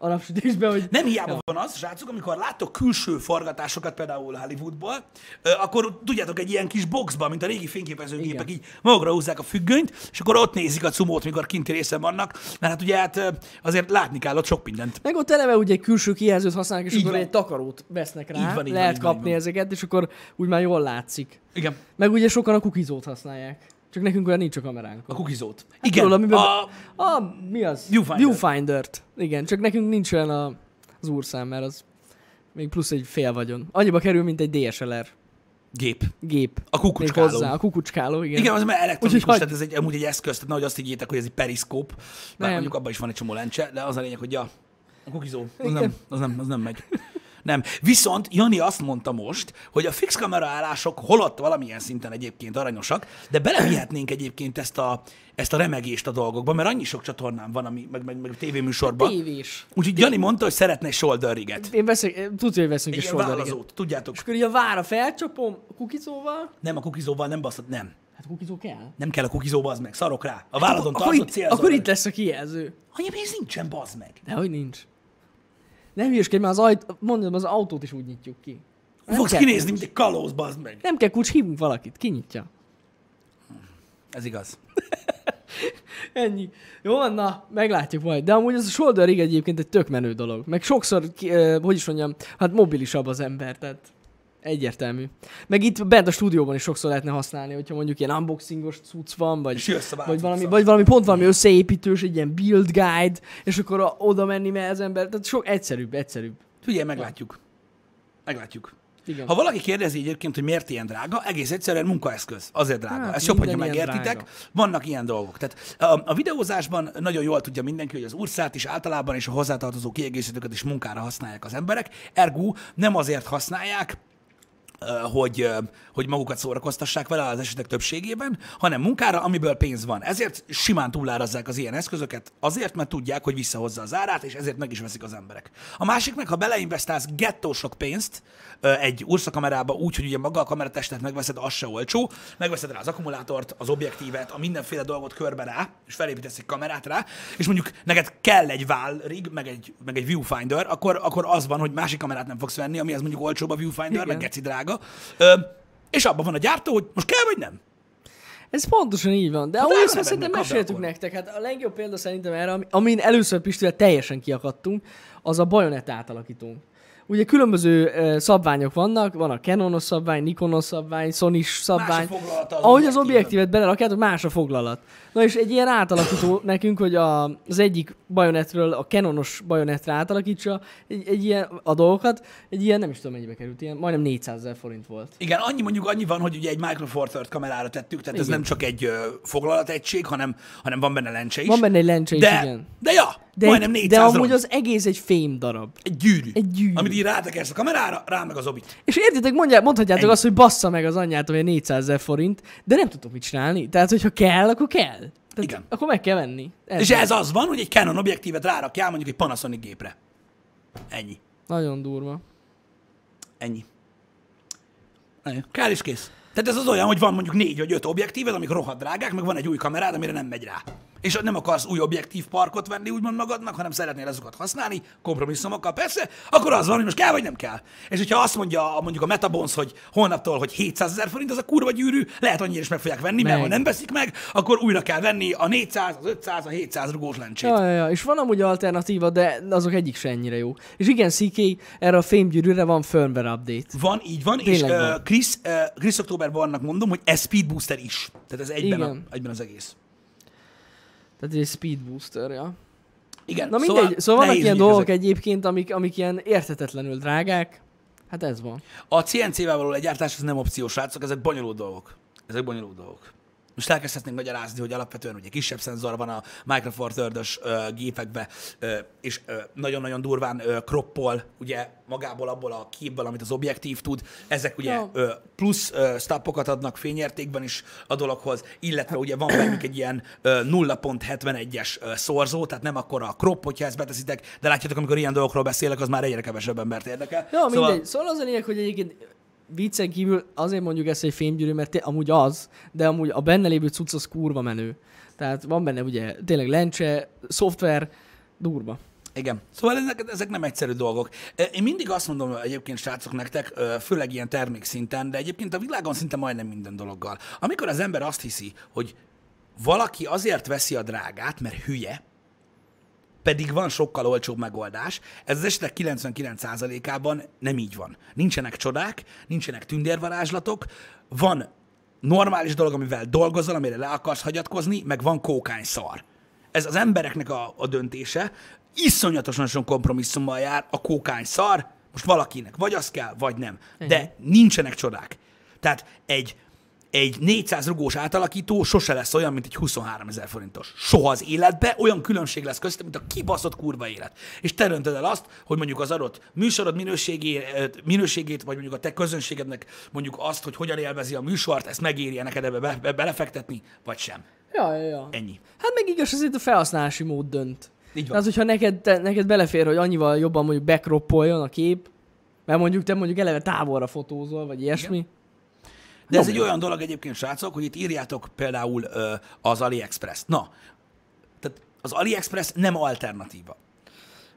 Speaker 2: A napsütésben, hogy
Speaker 1: Nem hiába van az, srácok, amikor láttok külső forgatásokat például Hollywoodból, ö, akkor tudjátok, egy ilyen kis boxban, mint a régi fényképezőgépek, így magukra húzzák a függönyt, és akkor ott nézik a cumót, mikor kinti részen vannak, mert hát ugye hát ö, azért látni kell ott sok mindent.
Speaker 2: Meg ott eleve ugye egy külső kijelzőt használnak, és
Speaker 1: Így
Speaker 2: akkor
Speaker 1: van.
Speaker 2: egy takarót vesznek rá,
Speaker 1: Így van, így
Speaker 2: lehet
Speaker 1: van, így van,
Speaker 2: kapni
Speaker 1: így van.
Speaker 2: ezeket, és akkor úgy már jól látszik.
Speaker 1: Igen.
Speaker 2: Meg ugye sokan a kukizót használják. Csak nekünk olyan nincs a kameránk.
Speaker 1: A kukizót.
Speaker 2: Tudod,
Speaker 1: Igen.
Speaker 2: Hát amiben-
Speaker 1: A,
Speaker 2: A, mi az?
Speaker 1: Viewfinder.
Speaker 2: Viewfinder-t. Igen, csak nekünk nincs olyan a, az úrszám, mert az Még plusz egy fél vagyon. Annyiba kerül, mint egy DSLR
Speaker 1: Gép.
Speaker 2: gép.
Speaker 1: A kukucskáló.
Speaker 2: Még hozzá, a kukucskáló, igen.
Speaker 1: Igen, az már elektronikus,
Speaker 2: Úgyhogy
Speaker 1: tehát ez egy, amúgy egy eszköz, tehát nehogy azt higgyétek, hogy ez egy periszkóp, bár
Speaker 2: Nem.
Speaker 1: mondjuk abban is van egy csomó lencse, de az a lényeg, hogy ja, a kukizó, az
Speaker 2: Igen.
Speaker 1: nem, az nem, az nem megy. Nem. Viszont Jani azt mondta most, hogy a fix kameraállások holott valamilyen szinten egyébként aranyosak, de belevihetnénk egyébként ezt a, ezt a remegést a dolgokba, mert annyi sok csatornán van, ami, meg, meg, meg
Speaker 2: Hát
Speaker 1: tévéműsorban.
Speaker 2: Tévés.
Speaker 1: Úgyhogy Jani mondta, hogy szeretne egy shoulder riget.
Speaker 2: Én veszek, tudja, hogy veszünk
Speaker 1: Egy
Speaker 2: is
Speaker 1: ilyen
Speaker 2: solderiget.
Speaker 1: vállalzót, tudjátok.
Speaker 2: És akkor így a vára felcsapom a kukicóval.
Speaker 1: Nem a kukizóval, nem baszod, nem.
Speaker 2: Hát kukicó kell.
Speaker 1: Nem kell a kukizóba, az meg, szarok rá. A váladon
Speaker 2: Akkor
Speaker 1: tartott
Speaker 2: itt,
Speaker 1: célzol.
Speaker 2: akkor
Speaker 1: meg.
Speaker 2: itt lesz a kijelző.
Speaker 1: Anya, ez nincsen, bazd meg.
Speaker 2: De hogy nincs. Nem hülyeskedj, mert az, ajt, mondom, az autót is úgy nyitjuk ki. Nem
Speaker 1: Fogsz
Speaker 2: kell
Speaker 1: kinézni,
Speaker 2: kulcs.
Speaker 1: mint egy kalóz, bazd meg.
Speaker 2: Nem kell kulcs, hívunk valakit, kinyitja.
Speaker 1: Ez igaz.
Speaker 2: Ennyi. Jó van, na, meglátjuk majd. De amúgy ez a shoulder rig egyébként egy tök menő dolog. Meg sokszor, ki- eh, hogy is mondjam, hát mobilisabb az ember, tehát egyértelmű. Meg itt bent a stúdióban is sokszor lehetne használni, hogyha mondjuk ilyen unboxingos cucc van, vagy,
Speaker 1: És jössz a
Speaker 2: vagy, valami,
Speaker 1: változat.
Speaker 2: vagy valami pont valami összeépítős, egy ilyen build guide, és akkor a, oda menni, mert az ember, tehát sok egyszerűbb, egyszerűbb.
Speaker 1: Figyelj, meglátjuk. Meglátjuk.
Speaker 2: Igen.
Speaker 1: Ha valaki kérdezi egyébként, hogy miért ilyen drága, egész egyszerűen munkaeszköz, azért drága.
Speaker 2: Hát,
Speaker 1: Hát, Ez jobb, hogyha
Speaker 2: minden ilyen
Speaker 1: megértitek.
Speaker 2: drága.
Speaker 1: Vannak ilyen dolgok. Tehát a, a videózásban nagyon jól tudja mindenki, hogy az urszát is általában és a hozzátartozó kiegészítőket is munkára használják az emberek. Ergo nem azért használják, ö, hogy, ö, hogy magukat szórakoztassák vele az esetek többségében, hanem munkára, amiből pénz van. Ezért simán túlárazzák az ilyen eszközöket, azért, mert tudják, hogy visszahozza az árát, és ezért meg is veszik az emberek. A másik meg, ha beleinvestálsz gettó sok pénzt ö, egy urszakamerába úgy, hogy ugye maga a kameratestet megveszed, az se olcsó, megveszed rá az akkumulátort, az objektívet, a mindenféle dolgot körbe rá, és felépítesz egy kamerát rá, és mondjuk neked kell egy válrig, meg egy, meg egy viewfinder, akkor, akkor az van, hogy másik kamerát nem fogsz venni, ami az mondjuk olcsóbb a viewfinder, Igen. meg
Speaker 2: Igen.
Speaker 1: geci drága. Ö, és abban van a gyártó, hogy most kell vagy nem.
Speaker 2: Ez pontosan így van, de hát
Speaker 1: erre
Speaker 2: ahogy
Speaker 1: nem
Speaker 2: ezt szerintem
Speaker 1: kapd
Speaker 2: meséltük
Speaker 1: akkor.
Speaker 2: nektek, hát a legjobb példa szerintem erre, ami- amin először Pistivel teljesen kiakadtunk, az a bajonett átalakítunk. Ugye különböző eh, szabványok vannak, van a Canonos szabvány, Nikonos szabvány, sony szabvány.
Speaker 1: foglalata az
Speaker 2: Ahogy az
Speaker 1: objektívben.
Speaker 2: objektívet belerakjátok, más a foglalat. Na és egy ilyen átalakító nekünk, hogy a, az egyik bajonetről a Canonos bajonetre átalakítsa egy, egy ilyen, a dolgokat, egy ilyen nem is tudom mennyibe került, ilyen majdnem 400 ezer forint volt.
Speaker 1: Igen, annyi mondjuk annyi van, hogy ugye egy Micro Four Third kamerára tettük, tehát ez
Speaker 2: Igen.
Speaker 1: nem csak egy ö, foglalategység, hanem, hanem van benne lencse is.
Speaker 2: Van benne egy lencse is,
Speaker 1: de,
Speaker 2: igen.
Speaker 1: De ja, de
Speaker 2: De,
Speaker 1: majdnem
Speaker 2: egy,
Speaker 1: 400
Speaker 2: de amúgy
Speaker 1: ront.
Speaker 2: az egész egy fém darab.
Speaker 1: Egy gyűrű.
Speaker 2: Egy gyűrű.
Speaker 1: Amit így rátekersz a kamerára, rá meg az obit.
Speaker 2: És értitek, mondják, mondhatjátok
Speaker 1: Ennyi.
Speaker 2: azt, hogy bassza meg az anyját, ami 400 ezer forint, de nem tudtok mit csinálni. Tehát, hogyha kell, akkor kell. Tehát,
Speaker 1: Igen.
Speaker 2: Akkor meg kell venni. Ez
Speaker 1: És ez az van, hogy egy Canon objektívet rárakjál mondjuk egy Panasonic gépre. Ennyi.
Speaker 2: Nagyon durva.
Speaker 1: Ennyi. Ennyi. Kár is kész. Tehát ez az olyan, hogy van mondjuk négy vagy öt objektíved, amik rohadt drágák, meg van egy új kamerád, amire nem megy rá. És nem akarsz új objektív parkot venni úgymond magadnak, hanem szeretnél azokat használni, kompromisszumokkal persze, akkor az van, hogy most kell vagy nem kell. És hogyha azt mondja a- mondjuk a Metabons, hogy holnaptól, hogy 700 ezer forint az a kurva gyűrű, lehet annyira is meg fogják venni, mert
Speaker 2: Meg.
Speaker 1: ha nem veszik meg, akkor újra kell venni a 400, az 500, a 700 rugós lencsét.
Speaker 2: Ja, ja, ja. És van amúgy alternatíva, de azok egyik se ennyire jó. És igen, CK, erre a fémgyűrűre van firmware update.
Speaker 1: Van, így van,
Speaker 2: Tényleg
Speaker 1: és
Speaker 2: van.
Speaker 1: uh, Chris, uh, Chris Októberben vannak mondom, hogy ez Speed Booster is. Tehát ez egyben, a,
Speaker 2: Igen.
Speaker 1: egyben az egész.
Speaker 2: Tehát ez egy speed booster, ja.
Speaker 1: Igen,
Speaker 2: Na mindegy, szóval, szóval vannak
Speaker 1: nehéz
Speaker 2: ilyen
Speaker 1: ügyek
Speaker 2: dolgok
Speaker 1: ezek.
Speaker 2: egyébként, amik, amik ilyen érthetetlenül drágák. Hát ez van.
Speaker 1: A CNC-vel való legyártás ez nem opciós, srácok, ezek bonyolult dolgok. Ezek bonyolult dolgok. Most elkezdhetnénk magyarázni, hogy alapvetően ugye kisebb szenzor van a Micro Four Third-ös ö, gépekbe, ö, és ö, nagyon-nagyon durván ö, kroppol ugye magából abból a képből, amit az objektív tud. Ezek ugye
Speaker 2: Ja.
Speaker 1: ö, plusz ö, stoppokat adnak fényértékben is a dologhoz, illetve ugye van bennük egy ilyen ö, 0.71-es ö, szorzó, tehát nem akkora a crop, hogyha ezt beteszitek, de látjátok, amikor ilyen dolgokról beszélek, az már egyre kevesebb embert érdekel.
Speaker 2: Ja, mindegy. Szóval, szóval az a lényeg, hogy egyébként viccen kívül azért mondjuk ezt egy fémgyűrű, mert té- amúgy az, de amúgy a benne lévő cucc az kurva menő. Tehát van benne ugye tényleg lencse, szoftver, durva.
Speaker 1: Igen. Szóval ezek, ezek nem egyszerű dolgok. E, Én mindig azt mondom egyébként, srácok, nektek, ö, főleg ilyen termékszinten, de egyébként a világon szinte majdnem minden dologgal. Amikor az ember azt hiszi, hogy valaki azért veszi a drágát, mert hülye, pedig van sokkal olcsóbb megoldás. Ez az esetek 99%-ában nem így van. Nincsenek csodák, nincsenek tündérvarázslatok, van normális dolog, amivel dolgozol, amire le akarsz hagyatkozni, meg van kókány szar. Ez az embereknek a, a döntése iszonyatosan sok kompromisszummal jár a kókány szar, Most valakinek vagy az kell, vagy nem. De nincsenek csodák. Tehát egy, egy 400 rugós átalakító sose lesz olyan, mint egy 23 ezer forintos. Soha az életbe olyan különbség lesz köztem, mint a kibaszott kurva élet. És te döntöd el azt, hogy mondjuk az adott műsorod minőségét, minőségét vagy mondjuk a te közönségednek mondjuk azt, hogy hogyan élvezi a műsort, ezt megéri neked ebbe be, be, belefektetni, vagy sem.
Speaker 2: Ja, ja, ja.
Speaker 1: Ennyi.
Speaker 2: Hát meg igaz, azért a felhasználási mód dönt.
Speaker 1: Így van.
Speaker 2: Az, hogyha neked, te, neked belefér, hogy annyival jobban mondjuk bekroppoljon a kép, mert mondjuk te mondjuk eleve távolra fotózol, vagy ilyesmi. Igen.
Speaker 1: De ez egy olyan dolog egyébként, srácok, hogy itt írjátok például ö, az AliExpress. Na, tehát az AliExpress nem alternatíva.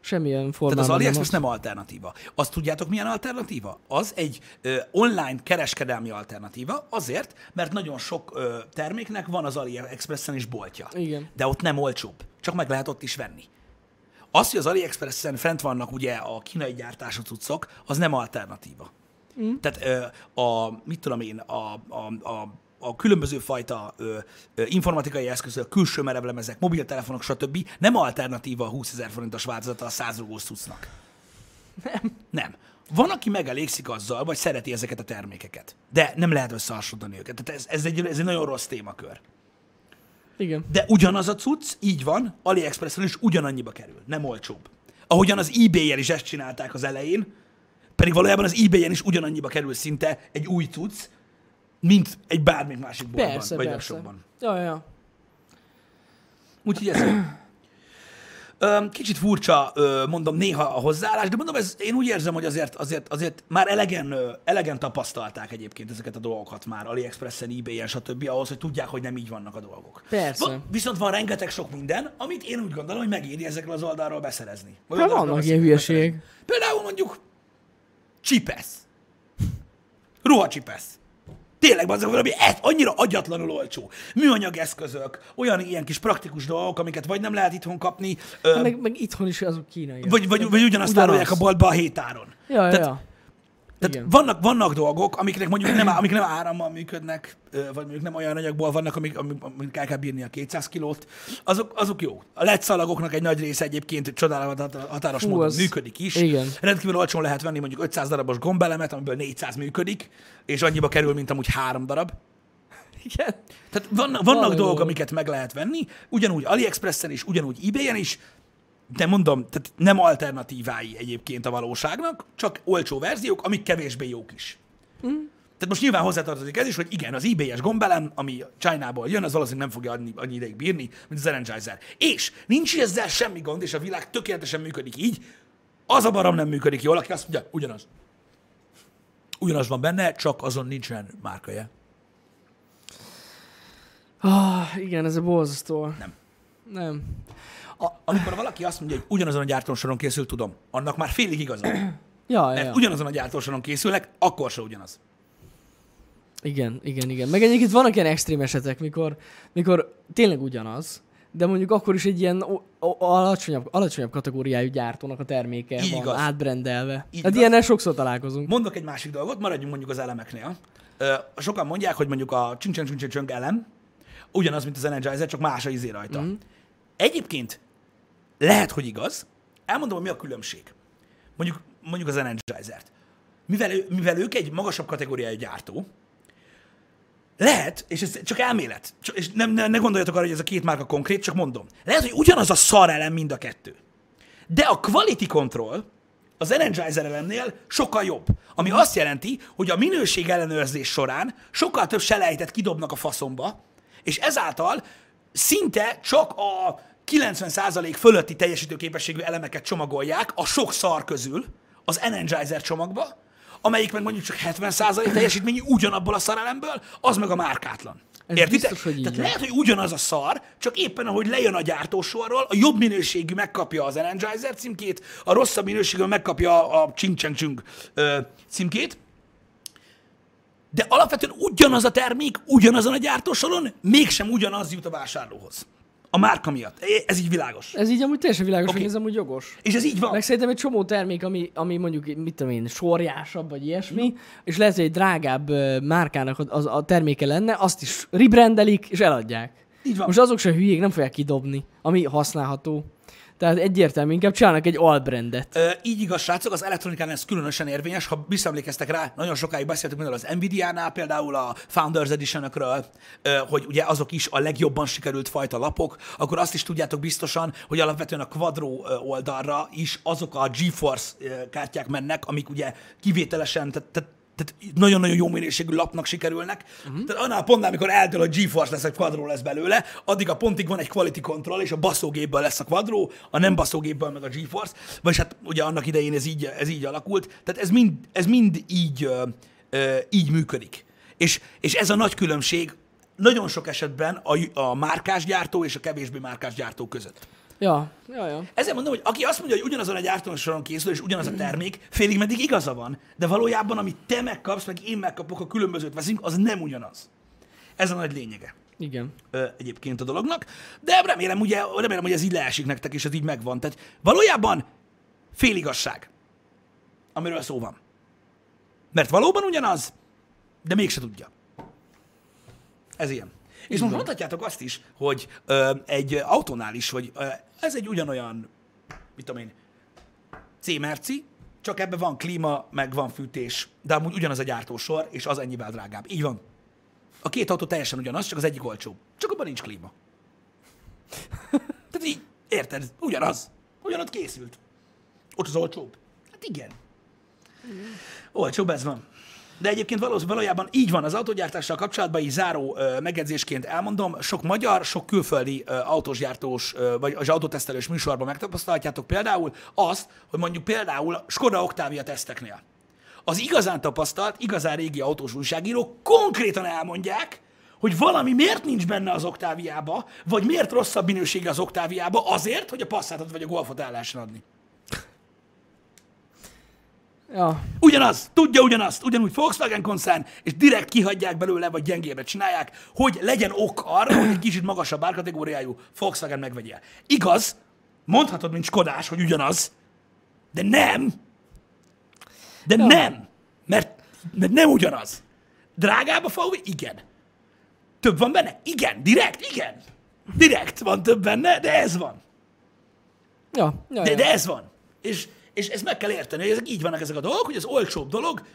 Speaker 2: Semmilyen formában.
Speaker 1: Tehát az AliExpress
Speaker 2: nem.
Speaker 1: nem alternatíva. Azt tudjátok, milyen alternatíva? Az egy ö, online kereskedelmi alternatíva, azért, mert nagyon sok ö, terméknek van az AliExpressen is boltja.
Speaker 2: Igen.
Speaker 1: De ott nem olcsóbb. Csak meg lehet ott is venni. Az, hogy az AliExpressen fent vannak ugye a kínai gyártású cuccok, az nem alternatíva. Mm. Tehát ö, a, mit tudom én, a, a, a, a különböző fajta ö, ö, informatikai eszközök, külső merevlemezek, mobiltelefonok, stb. nem alternatíva a 20 ezer forintos változata a 100 rugós cuccnak. Nem. Nem. Van, aki megelégszik azzal, vagy szereti ezeket a termékeket. De nem lehet összehasonlítani őket. Tehát ez, ez, egy, ez egy nagyon rossz témakör.
Speaker 2: Nem. Igen.
Speaker 1: De ugyanaz a cucc, így van, AliExpresson is ugyanannyiba kerül, nem olcsóbb. Ahogyan az eBay-jel is ezt csinálták az elején, pedig valójában az eBay-en is ugyanannyiba kerül szinte egy új cucc, mint egy bármik másik boltban,
Speaker 2: Persze,
Speaker 1: vagy
Speaker 2: persze.
Speaker 1: webshopban.
Speaker 2: Ja, ja, ja.
Speaker 1: Úgyhogy ez... Öm, Kicsit furcsa, ö, mondom, néha a hozzáállás, de mondom, ez, én úgy érzem, hogy azért, azért, azért már elegen, ö, elegen tapasztalták egyébként ezeket a dolgokat már, AliExpressen, eBay-en, stb. ahhoz, hogy tudják, hogy nem így vannak a dolgok.
Speaker 2: Persze.
Speaker 1: Va- viszont van rengeteg sok minden, amit én úgy gondolom, hogy megéri ezekről az oldalról beszerezni. Vagy
Speaker 2: Hát
Speaker 1: oldalról
Speaker 2: vannak ilyen
Speaker 1: beszerezni.
Speaker 2: hülyeségek.
Speaker 1: Például mondjuk csipesz. Ruhacsipesz. Tényleg az valami ez annyira agyatlanul olcsó. Műanyag eszközök, olyan ilyen kis praktikus dolgok, amiket vagy nem lehet itthon kapni, ö,
Speaker 2: Hát Meg, meg itthon is azok kínai.
Speaker 1: vagy, vagy, vagy ugyanazt
Speaker 2: Ugyanaz.
Speaker 1: árulják a boltba a hétáron.
Speaker 2: Ja, ja,
Speaker 1: Tehát-
Speaker 2: ja.
Speaker 1: Tehát
Speaker 2: Igen.
Speaker 1: vannak, vannak dolgok, amiknek mondjuk nem, á- amik nem árammal működnek, ö, vagy mondjuk nem olyan anyagból vannak, amik, amik, amik el kell bírni a 200 kilót, azok, azok jó. A LED szalagoknak egy nagy része egyébként csodálatos határos
Speaker 2: Hú,
Speaker 1: módon
Speaker 2: az-
Speaker 1: működik is.
Speaker 2: igen.
Speaker 1: Rendkívül olcsón lehet venni mondjuk 500 darabos gombelemet, amiből 400 működik, és annyiba kerül, mint amúgy három darab.
Speaker 2: Igen.
Speaker 1: Tehát vannak, vannak
Speaker 2: Valami
Speaker 1: dolgok,
Speaker 2: dolog.
Speaker 1: amiket meg lehet venni, ugyanúgy AliExpressen is, ugyanúgy eBay-en is, de mondom, tehát nem alternatívái egyébként a valóságnak, csak olcsó verziók, amik kevésbé jók is. Tehát most nyilván hozzátartozik ez is, hogy igen, az eBay-es gombelem, ami Csájnából jön, az valószínűleg nem fogja annyi, annyi ideig bírni, mint az Energizer. És nincs ezzel semmi gond, és a világ tökéletesen működik így, az a barom nem működik jól, aki azt mondja, ugyanaz. Ugyanaz van benne, csak azon nincsen márkaja.
Speaker 2: Ah, igen, ez a borzasztó.
Speaker 1: Nem.
Speaker 2: Nem.
Speaker 1: A, amikor valaki azt mondja, hogy ugyanazon a gyártósoron készül, tudom, annak már félig igaza. van.
Speaker 2: Ja, ja,
Speaker 1: Mert
Speaker 2: ja.
Speaker 1: ugyanazon a gyártósoron készülnek, akkor se ugyanaz.
Speaker 2: Igen, igen, igen. Meg egyébként vannak ilyen extrém esetek, mikor, mikor tényleg ugyanaz, de mondjuk akkor is egy ilyen o- o- alacsonyabb, alacsonyabb kategóriájú gyártónak a terméke
Speaker 1: Így
Speaker 2: van
Speaker 1: igaz.
Speaker 2: átbrendelve.
Speaker 1: Így
Speaker 2: hát
Speaker 1: igaz.
Speaker 2: ilyennel sokszor találkozunk.
Speaker 1: Mondok egy másik dolgot, maradjunk mondjuk az elemeknél. Ö, sokan mondják, hogy mondjuk a csincsen csincsen csöng elem ugyanaz, mint az Energizer, csak más a izé rajta. Mm. Egyébként lehet, hogy igaz. Elmondom, hogy mi a különbség. Mondjuk, mondjuk az Energizert. Mivel, ő- mivel ők egy magasabb kategóriájú gyártó, Lehet, és ez csak elmélet, csak, és nem, ne, ne gondoljatok arra, hogy ez a két márka konkrét, csak mondom. Lehet, hogy ugyanaz a szar elem mind a kettő. De a quality control az Energizer elemnél sokkal jobb. Ami azt jelenti, hogy a minőség ellenőrzés során sokkal több selejtet kidobnak a faszomba, és ezáltal szinte csak a 90% fölötti teljesítőképességű elemeket csomagolják a sok szar közül az Energizer csomagba, amelyik meg mondjuk csak 70% teljesítményű ugyanabból a szarelemből, az meg a márkátlan.
Speaker 2: Ez
Speaker 1: Értitek?
Speaker 2: biztos, hogy így
Speaker 1: Tehát
Speaker 2: van.
Speaker 1: lehet, hogy ugyanaz a szar, csak éppen ahogy lejön a gyártósorról, a jobb minőségű megkapja az Energizer címkét, a rosszabb minőségű megkapja a Ching Chang Chung ö, címkét, de alapvetően ugyanaz a termék, ugyanazon a gyártósoron, mégsem ugyanaz jut a vásárlóhoz. A márka miatt. E, Ez így világos.
Speaker 2: Ez így amúgy teljesen világos,
Speaker 1: Oké.
Speaker 2: okay. nézem, hogy jogos.
Speaker 1: És ez így van.
Speaker 2: Meg szerintem egy csomó termék, ami, ami mondjuk, mit tudom én, sorjásabb, vagy ilyesmi, és lehet, hogy egy drágább ö, márkának a- az, a terméke lenne, azt is rebrandelik, és eladják.
Speaker 1: Így van.
Speaker 2: Most azok se hülyék, nem fogják kidobni, ami használható. Tehát egyértelmű, inkább csinálnak egy albrendet.
Speaker 1: Ö, így igaz, srácok, az elektronikánál ez különösen érvényes. Ha visszaemlékeztek rá, nagyon sokáig beszéltünk például az Nvidia-nál, például a Founders Edition-ökről, ö, hogy ugye azok is a legjobban sikerült fajta lapok, akkor azt is tudjátok biztosan, hogy alapvetően a Quadro ö, oldalra is azok a GeForce ö, kártyák mennek, amik ugye kivételesen, tehát, tehát tehát nagyon-nagyon jó minőségű lapnak sikerülnek. Uh-huh. Tehát annál a pontnál, amikor eldől a GeForce lesz, egy quadró lesz belőle, addig a pontig van egy quality control, és a baszógépből lesz a quadró, a nem baszógépből meg a GeForce, vagyis hát ugye annak idején ez így, ez így alakult. Tehát ez mind, ez mind így, ö, ö, így működik. És, és ez a nagy különbség nagyon sok esetben a, a márkás gyártó és a kevésbé márkás gyártó között.
Speaker 2: Ja, ja, ja.
Speaker 1: Ezért mondom, hogy aki azt mondja, hogy ugyanazon egy gyártósoron készül, és ugyanaz a termék, félig meddig igaza van. De valójában, amit te megkapsz, meg én megkapok, a különbözőt veszünk, az nem ugyanaz. Ez a nagy lényege
Speaker 2: Igen.
Speaker 1: ö, egyébként a dolognak. De remélem, ugye, remélem, hogy ez így leesik nektek, és ez így megvan. Tehát valójában féligasság, amiről szó van. Mert valóban ugyanaz, de mégse tudja. Ez ilyen. És most mondhatjátok azt is, hogy ö, egy autónál is, hogy ö, ez egy ugyanolyan, mit tudom én, C-merci, csak ebben van klíma, meg van fűtés, de amúgy ugyanaz a gyártósor, és az ennyivel drágább. Így van. A két autó teljesen ugyanaz, csak az egyik olcsóbb. Csak abban nincs klíma. Tehát így, érted? Ugyanaz. Ugyanott készült. Ott az olcsóbb. Hát igen. Olcsóbb ez van. De egyébként valósz- valójában így van az autógyártással kapcsolatban, így záró ö, megjegyzésként elmondom, sok magyar, sok külföldi ö, autósgyártós, ö, vagy az autótesztelős műsorban megtapasztalhatjátok például azt, hogy mondjuk például Skoda Octavia teszteknél az igazán tapasztalt, igazán régi autós újságírók konkrétan elmondják, hogy valami miért nincs benne az oktáviába, vagy miért rosszabb minősége az oktáviába, azért, hogy a passzátot vagy a golfot el lehessen adni.
Speaker 2: Ja.
Speaker 1: Ugyanaz, tudja ugyanazt, ugyanúgy Volkswagen koncern, és direkt kihagyják belőle, vagy gyengébre csinálják, hogy legyen ok arra, hogy egy kicsit magasabb árkategóriájú Volkswagen megvegyél. Igaz, mondhatod, mint Skodás, hogy ugyanaz, de nem. De
Speaker 2: Ja.
Speaker 1: nem, mert, mert nem ugyanaz. Drágább a VW? Igen. Több van benne? Igen, direkt, igen. Direkt van több benne, de ez van.
Speaker 2: Ja, ja,
Speaker 1: De,
Speaker 2: ja.
Speaker 1: de ez van. És, és ezt meg kell érteni, hogy ezek így vannak ezek a dolgok, hogy az olcsóbb dolog,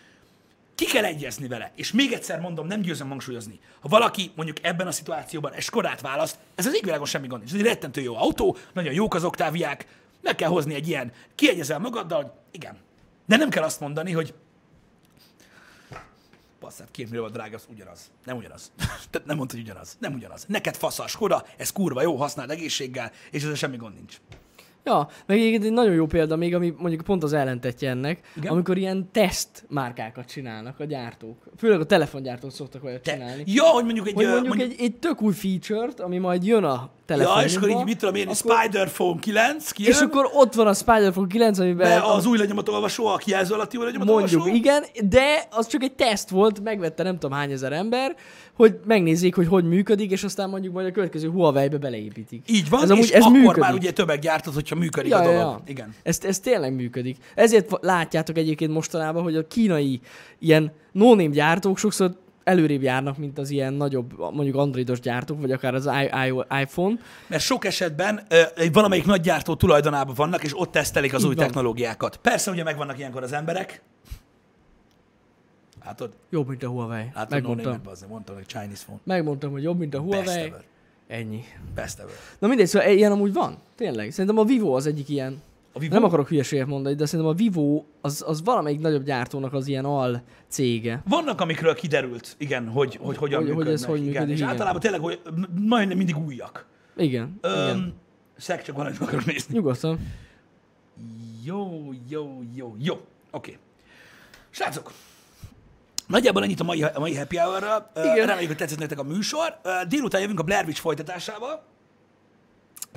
Speaker 1: ki kell egyezni vele. És még egyszer mondom, nem győzöm hangsúlyozni. Ha valaki mondjuk ebben a szituációban egy skorát választ, ez az égvilágon semmi gond nincs. Ez egy rettentő jó autó, nagyon jók az oktáviák, meg kell hozni egy ilyen, kiegyezel magaddal, hogy igen. De nem kell azt mondani, hogy hát Passzát, két millió drága, az ugyanaz. Nem ugyanaz. Tehát nem mondta, hogy ugyanaz. Nem ugyanaz. Neked fasz a Skoda, ez kurva jó, használd egészséggel, és ezzel semmi gond nincs.
Speaker 2: Ja, meg egyébként egy nagyon jó példa még, ami mondjuk pont az ellentetje ennek,
Speaker 1: Igen?
Speaker 2: Igen? amikor ilyen teszt márkákat csinálnak a gyártók. Főleg a telefongyártók szoktak olyat
Speaker 1: Te,
Speaker 2: csinálni.
Speaker 1: ja, hogy mondjuk egy...
Speaker 2: Hogy
Speaker 1: ö,
Speaker 2: mondjuk, egy, egy tök új feature-t, ami majd jön a
Speaker 1: Ja,
Speaker 2: telefonba.
Speaker 1: és akkor így mit tudom én, akkor... Spider Phone 9 kijön,
Speaker 2: és akkor ott van a Spider-Phone 9, amiben
Speaker 1: be az új lenyomatolvasó, a kijelző alatti új lenyomatolvasó.
Speaker 2: mondjuk, igen, de az csak egy teszt volt, megvette nem tudom hány ezer ember, hogy megnézzék, hogy hogy működik, és aztán mondjuk majd a következő Huawei-be beleépítik.
Speaker 1: Így van,
Speaker 2: ez amúgy,
Speaker 1: és
Speaker 2: ez
Speaker 1: akkor
Speaker 2: működik.
Speaker 1: már ugye többek gyártod, hogyha működik a
Speaker 2: Ja, ja,
Speaker 1: dolog.
Speaker 2: ja.
Speaker 1: Igen.
Speaker 2: Ez, ez tényleg működik. Ezért va- látjátok egyébként mostanában, hogy a kínai ilyen no gyártók sokszor előrébb járnak, mint az ilyen nagyobb, mondjuk androidos gyártók, vagy akár az I- I- iPhone.
Speaker 1: Mert sok esetben ö, egy valamelyik nagy gyártó tulajdonában vannak, és ott tesztelik az
Speaker 2: Így
Speaker 1: új
Speaker 2: van.
Speaker 1: technológiákat. Persze ugye megvannak ilyenkor az emberek. Látod?
Speaker 2: Jobb, mint a Huawei.
Speaker 1: Látod,
Speaker 2: Megmondtam.
Speaker 1: no name-et, mondtam, hogy Chinese phone.
Speaker 2: Megmondtam, hogy jobb, mint a
Speaker 1: Best
Speaker 2: Huawei.
Speaker 1: ever.
Speaker 2: Ennyi.
Speaker 1: Best ever.
Speaker 2: Na mindegy, szóval ilyen amúgy van. Tényleg. Szerintem a Vivo az egyik ilyen.
Speaker 1: A Vivo?
Speaker 2: Nem akarok hülyeséget mondani, de szerintem a Vivo az, az valamelyik nagyobb gyártónak az ilyen al cége.
Speaker 1: Vannak, amikről kiderült, igen, hogy, hogy hogyan
Speaker 2: Hogy- hogy ez
Speaker 1: működnek,
Speaker 2: hogy
Speaker 1: igen.
Speaker 2: működik,
Speaker 1: És
Speaker 2: igen.
Speaker 1: általában tényleg, hogy m- majdnem mindig újak.
Speaker 2: Igen. igen.
Speaker 1: Öm, szeg, csak valamit akarok nézni.
Speaker 2: Nyugodtan.
Speaker 1: Jó, jó, jó, jó. Oké. Okay. Srácok, nagyjából ennyit a mai, a mai happy hour
Speaker 2: Igen.
Speaker 1: Reméljük, hogy tetszett nektek a műsor. Ö, Délután jövünk a Blair Witch folytatásával.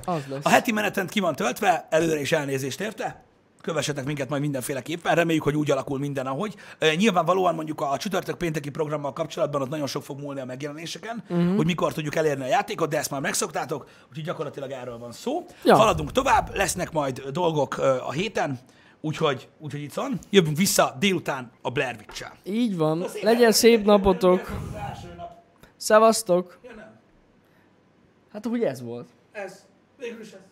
Speaker 2: Az lesz.
Speaker 1: A heti menetrend ki van töltve, előre is elnézést érte. Kövessetek minket majd mindenféleképpen, reméljük, hogy úgy alakul minden, ahogy. E, Nyilvánvalóan mondjuk a csütörtök pénteki programmal kapcsolatban ott nagyon sok fog múlni a megjelenéseken,
Speaker 2: Mhm.
Speaker 1: uh-huh. hogy mikor tudjuk elérni a játékot, de ezt már megszoktátok, úgyhogy gyakorlatilag erről van szó. Ja.
Speaker 2: Ja.
Speaker 1: Haladunk tovább, lesznek majd dolgok ö, a héten, úgyhogy, úgyhogy itt van. Jövünk vissza délután a Blair Witch-sel.
Speaker 2: Így van. Legyen szép napotok.
Speaker 1: Ez az első nap.
Speaker 2: Szevasztok.
Speaker 1: Ja, nem.
Speaker 2: Hát úgy ez volt.
Speaker 1: Ez. Végül is ez.